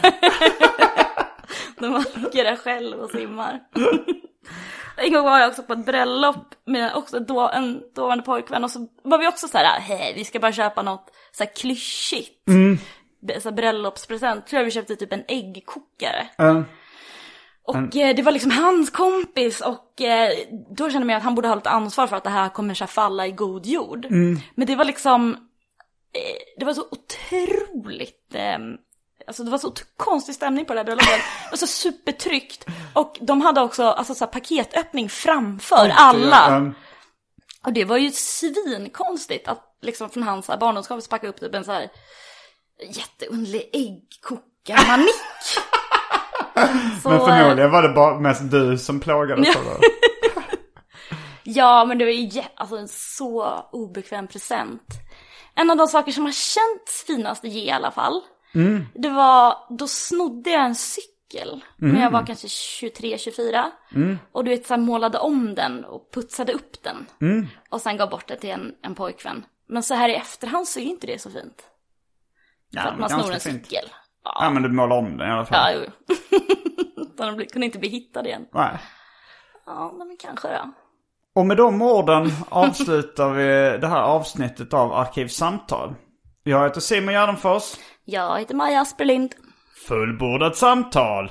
Speaker 3: När man ligger där själv och simmar. En gång var jag också på ett bröllop med också då en dåvarande pojkvän och så var vi också så här, hej vi ska bara köpa något så här klyschigt. B- Så här bröllopspresent, tror jag vi köpte typ en äggkokare.
Speaker 2: Mm.
Speaker 3: Och eh, det var liksom hans kompis och eh, då kände man ju att han borde ha lite ansvar för att det här kommer så här falla i god jord.
Speaker 2: Mm.
Speaker 3: Men det var liksom, eh, det var så otroligt, eh, alltså det var så ot- konstig stämning på det här bröllopet. Det var så supertryggt. Och de hade också alltså, så här, paketöppning framför alla.
Speaker 2: Mm.
Speaker 3: Och det var ju svinkonstigt att liksom från hans så här barndomskompis packa upp typ en så här jätteunderlig äggkokarmanick. Så,
Speaker 2: Men
Speaker 3: eh,
Speaker 2: förmodligen var det bara mest du som plågades av det.
Speaker 3: Ja, men det var ju jä- alltså, en så obekväm present. En av de saker som har känts finast att ge i alla fall,
Speaker 2: Mm.
Speaker 3: det var då snodde jag en cykel när
Speaker 2: Mm.
Speaker 3: jag var kanske 23-24. Och du vet, så här, målade om den och putsade upp den.
Speaker 2: Mm.
Speaker 3: Och sen gav bort det till en, en pojkvän. Men så här i efterhand så är ju inte det så fint.
Speaker 2: Ja,
Speaker 3: För att
Speaker 2: men
Speaker 3: man snor
Speaker 2: ganska
Speaker 3: en
Speaker 2: fint.
Speaker 3: cykel.
Speaker 2: Ja, men du målar om den i alla fall.
Speaker 3: Ja, jo. Så de bli- kunde inte bli hittade igen.
Speaker 2: Nej.
Speaker 3: Ja, men kanske då.
Speaker 2: Och med de orden avslutar vi det här avsnittet av Arkivsamtal. Jag heter Simon Gärdenfors.
Speaker 3: Jag heter Maja Asperlind.
Speaker 2: Fullbordat samtal!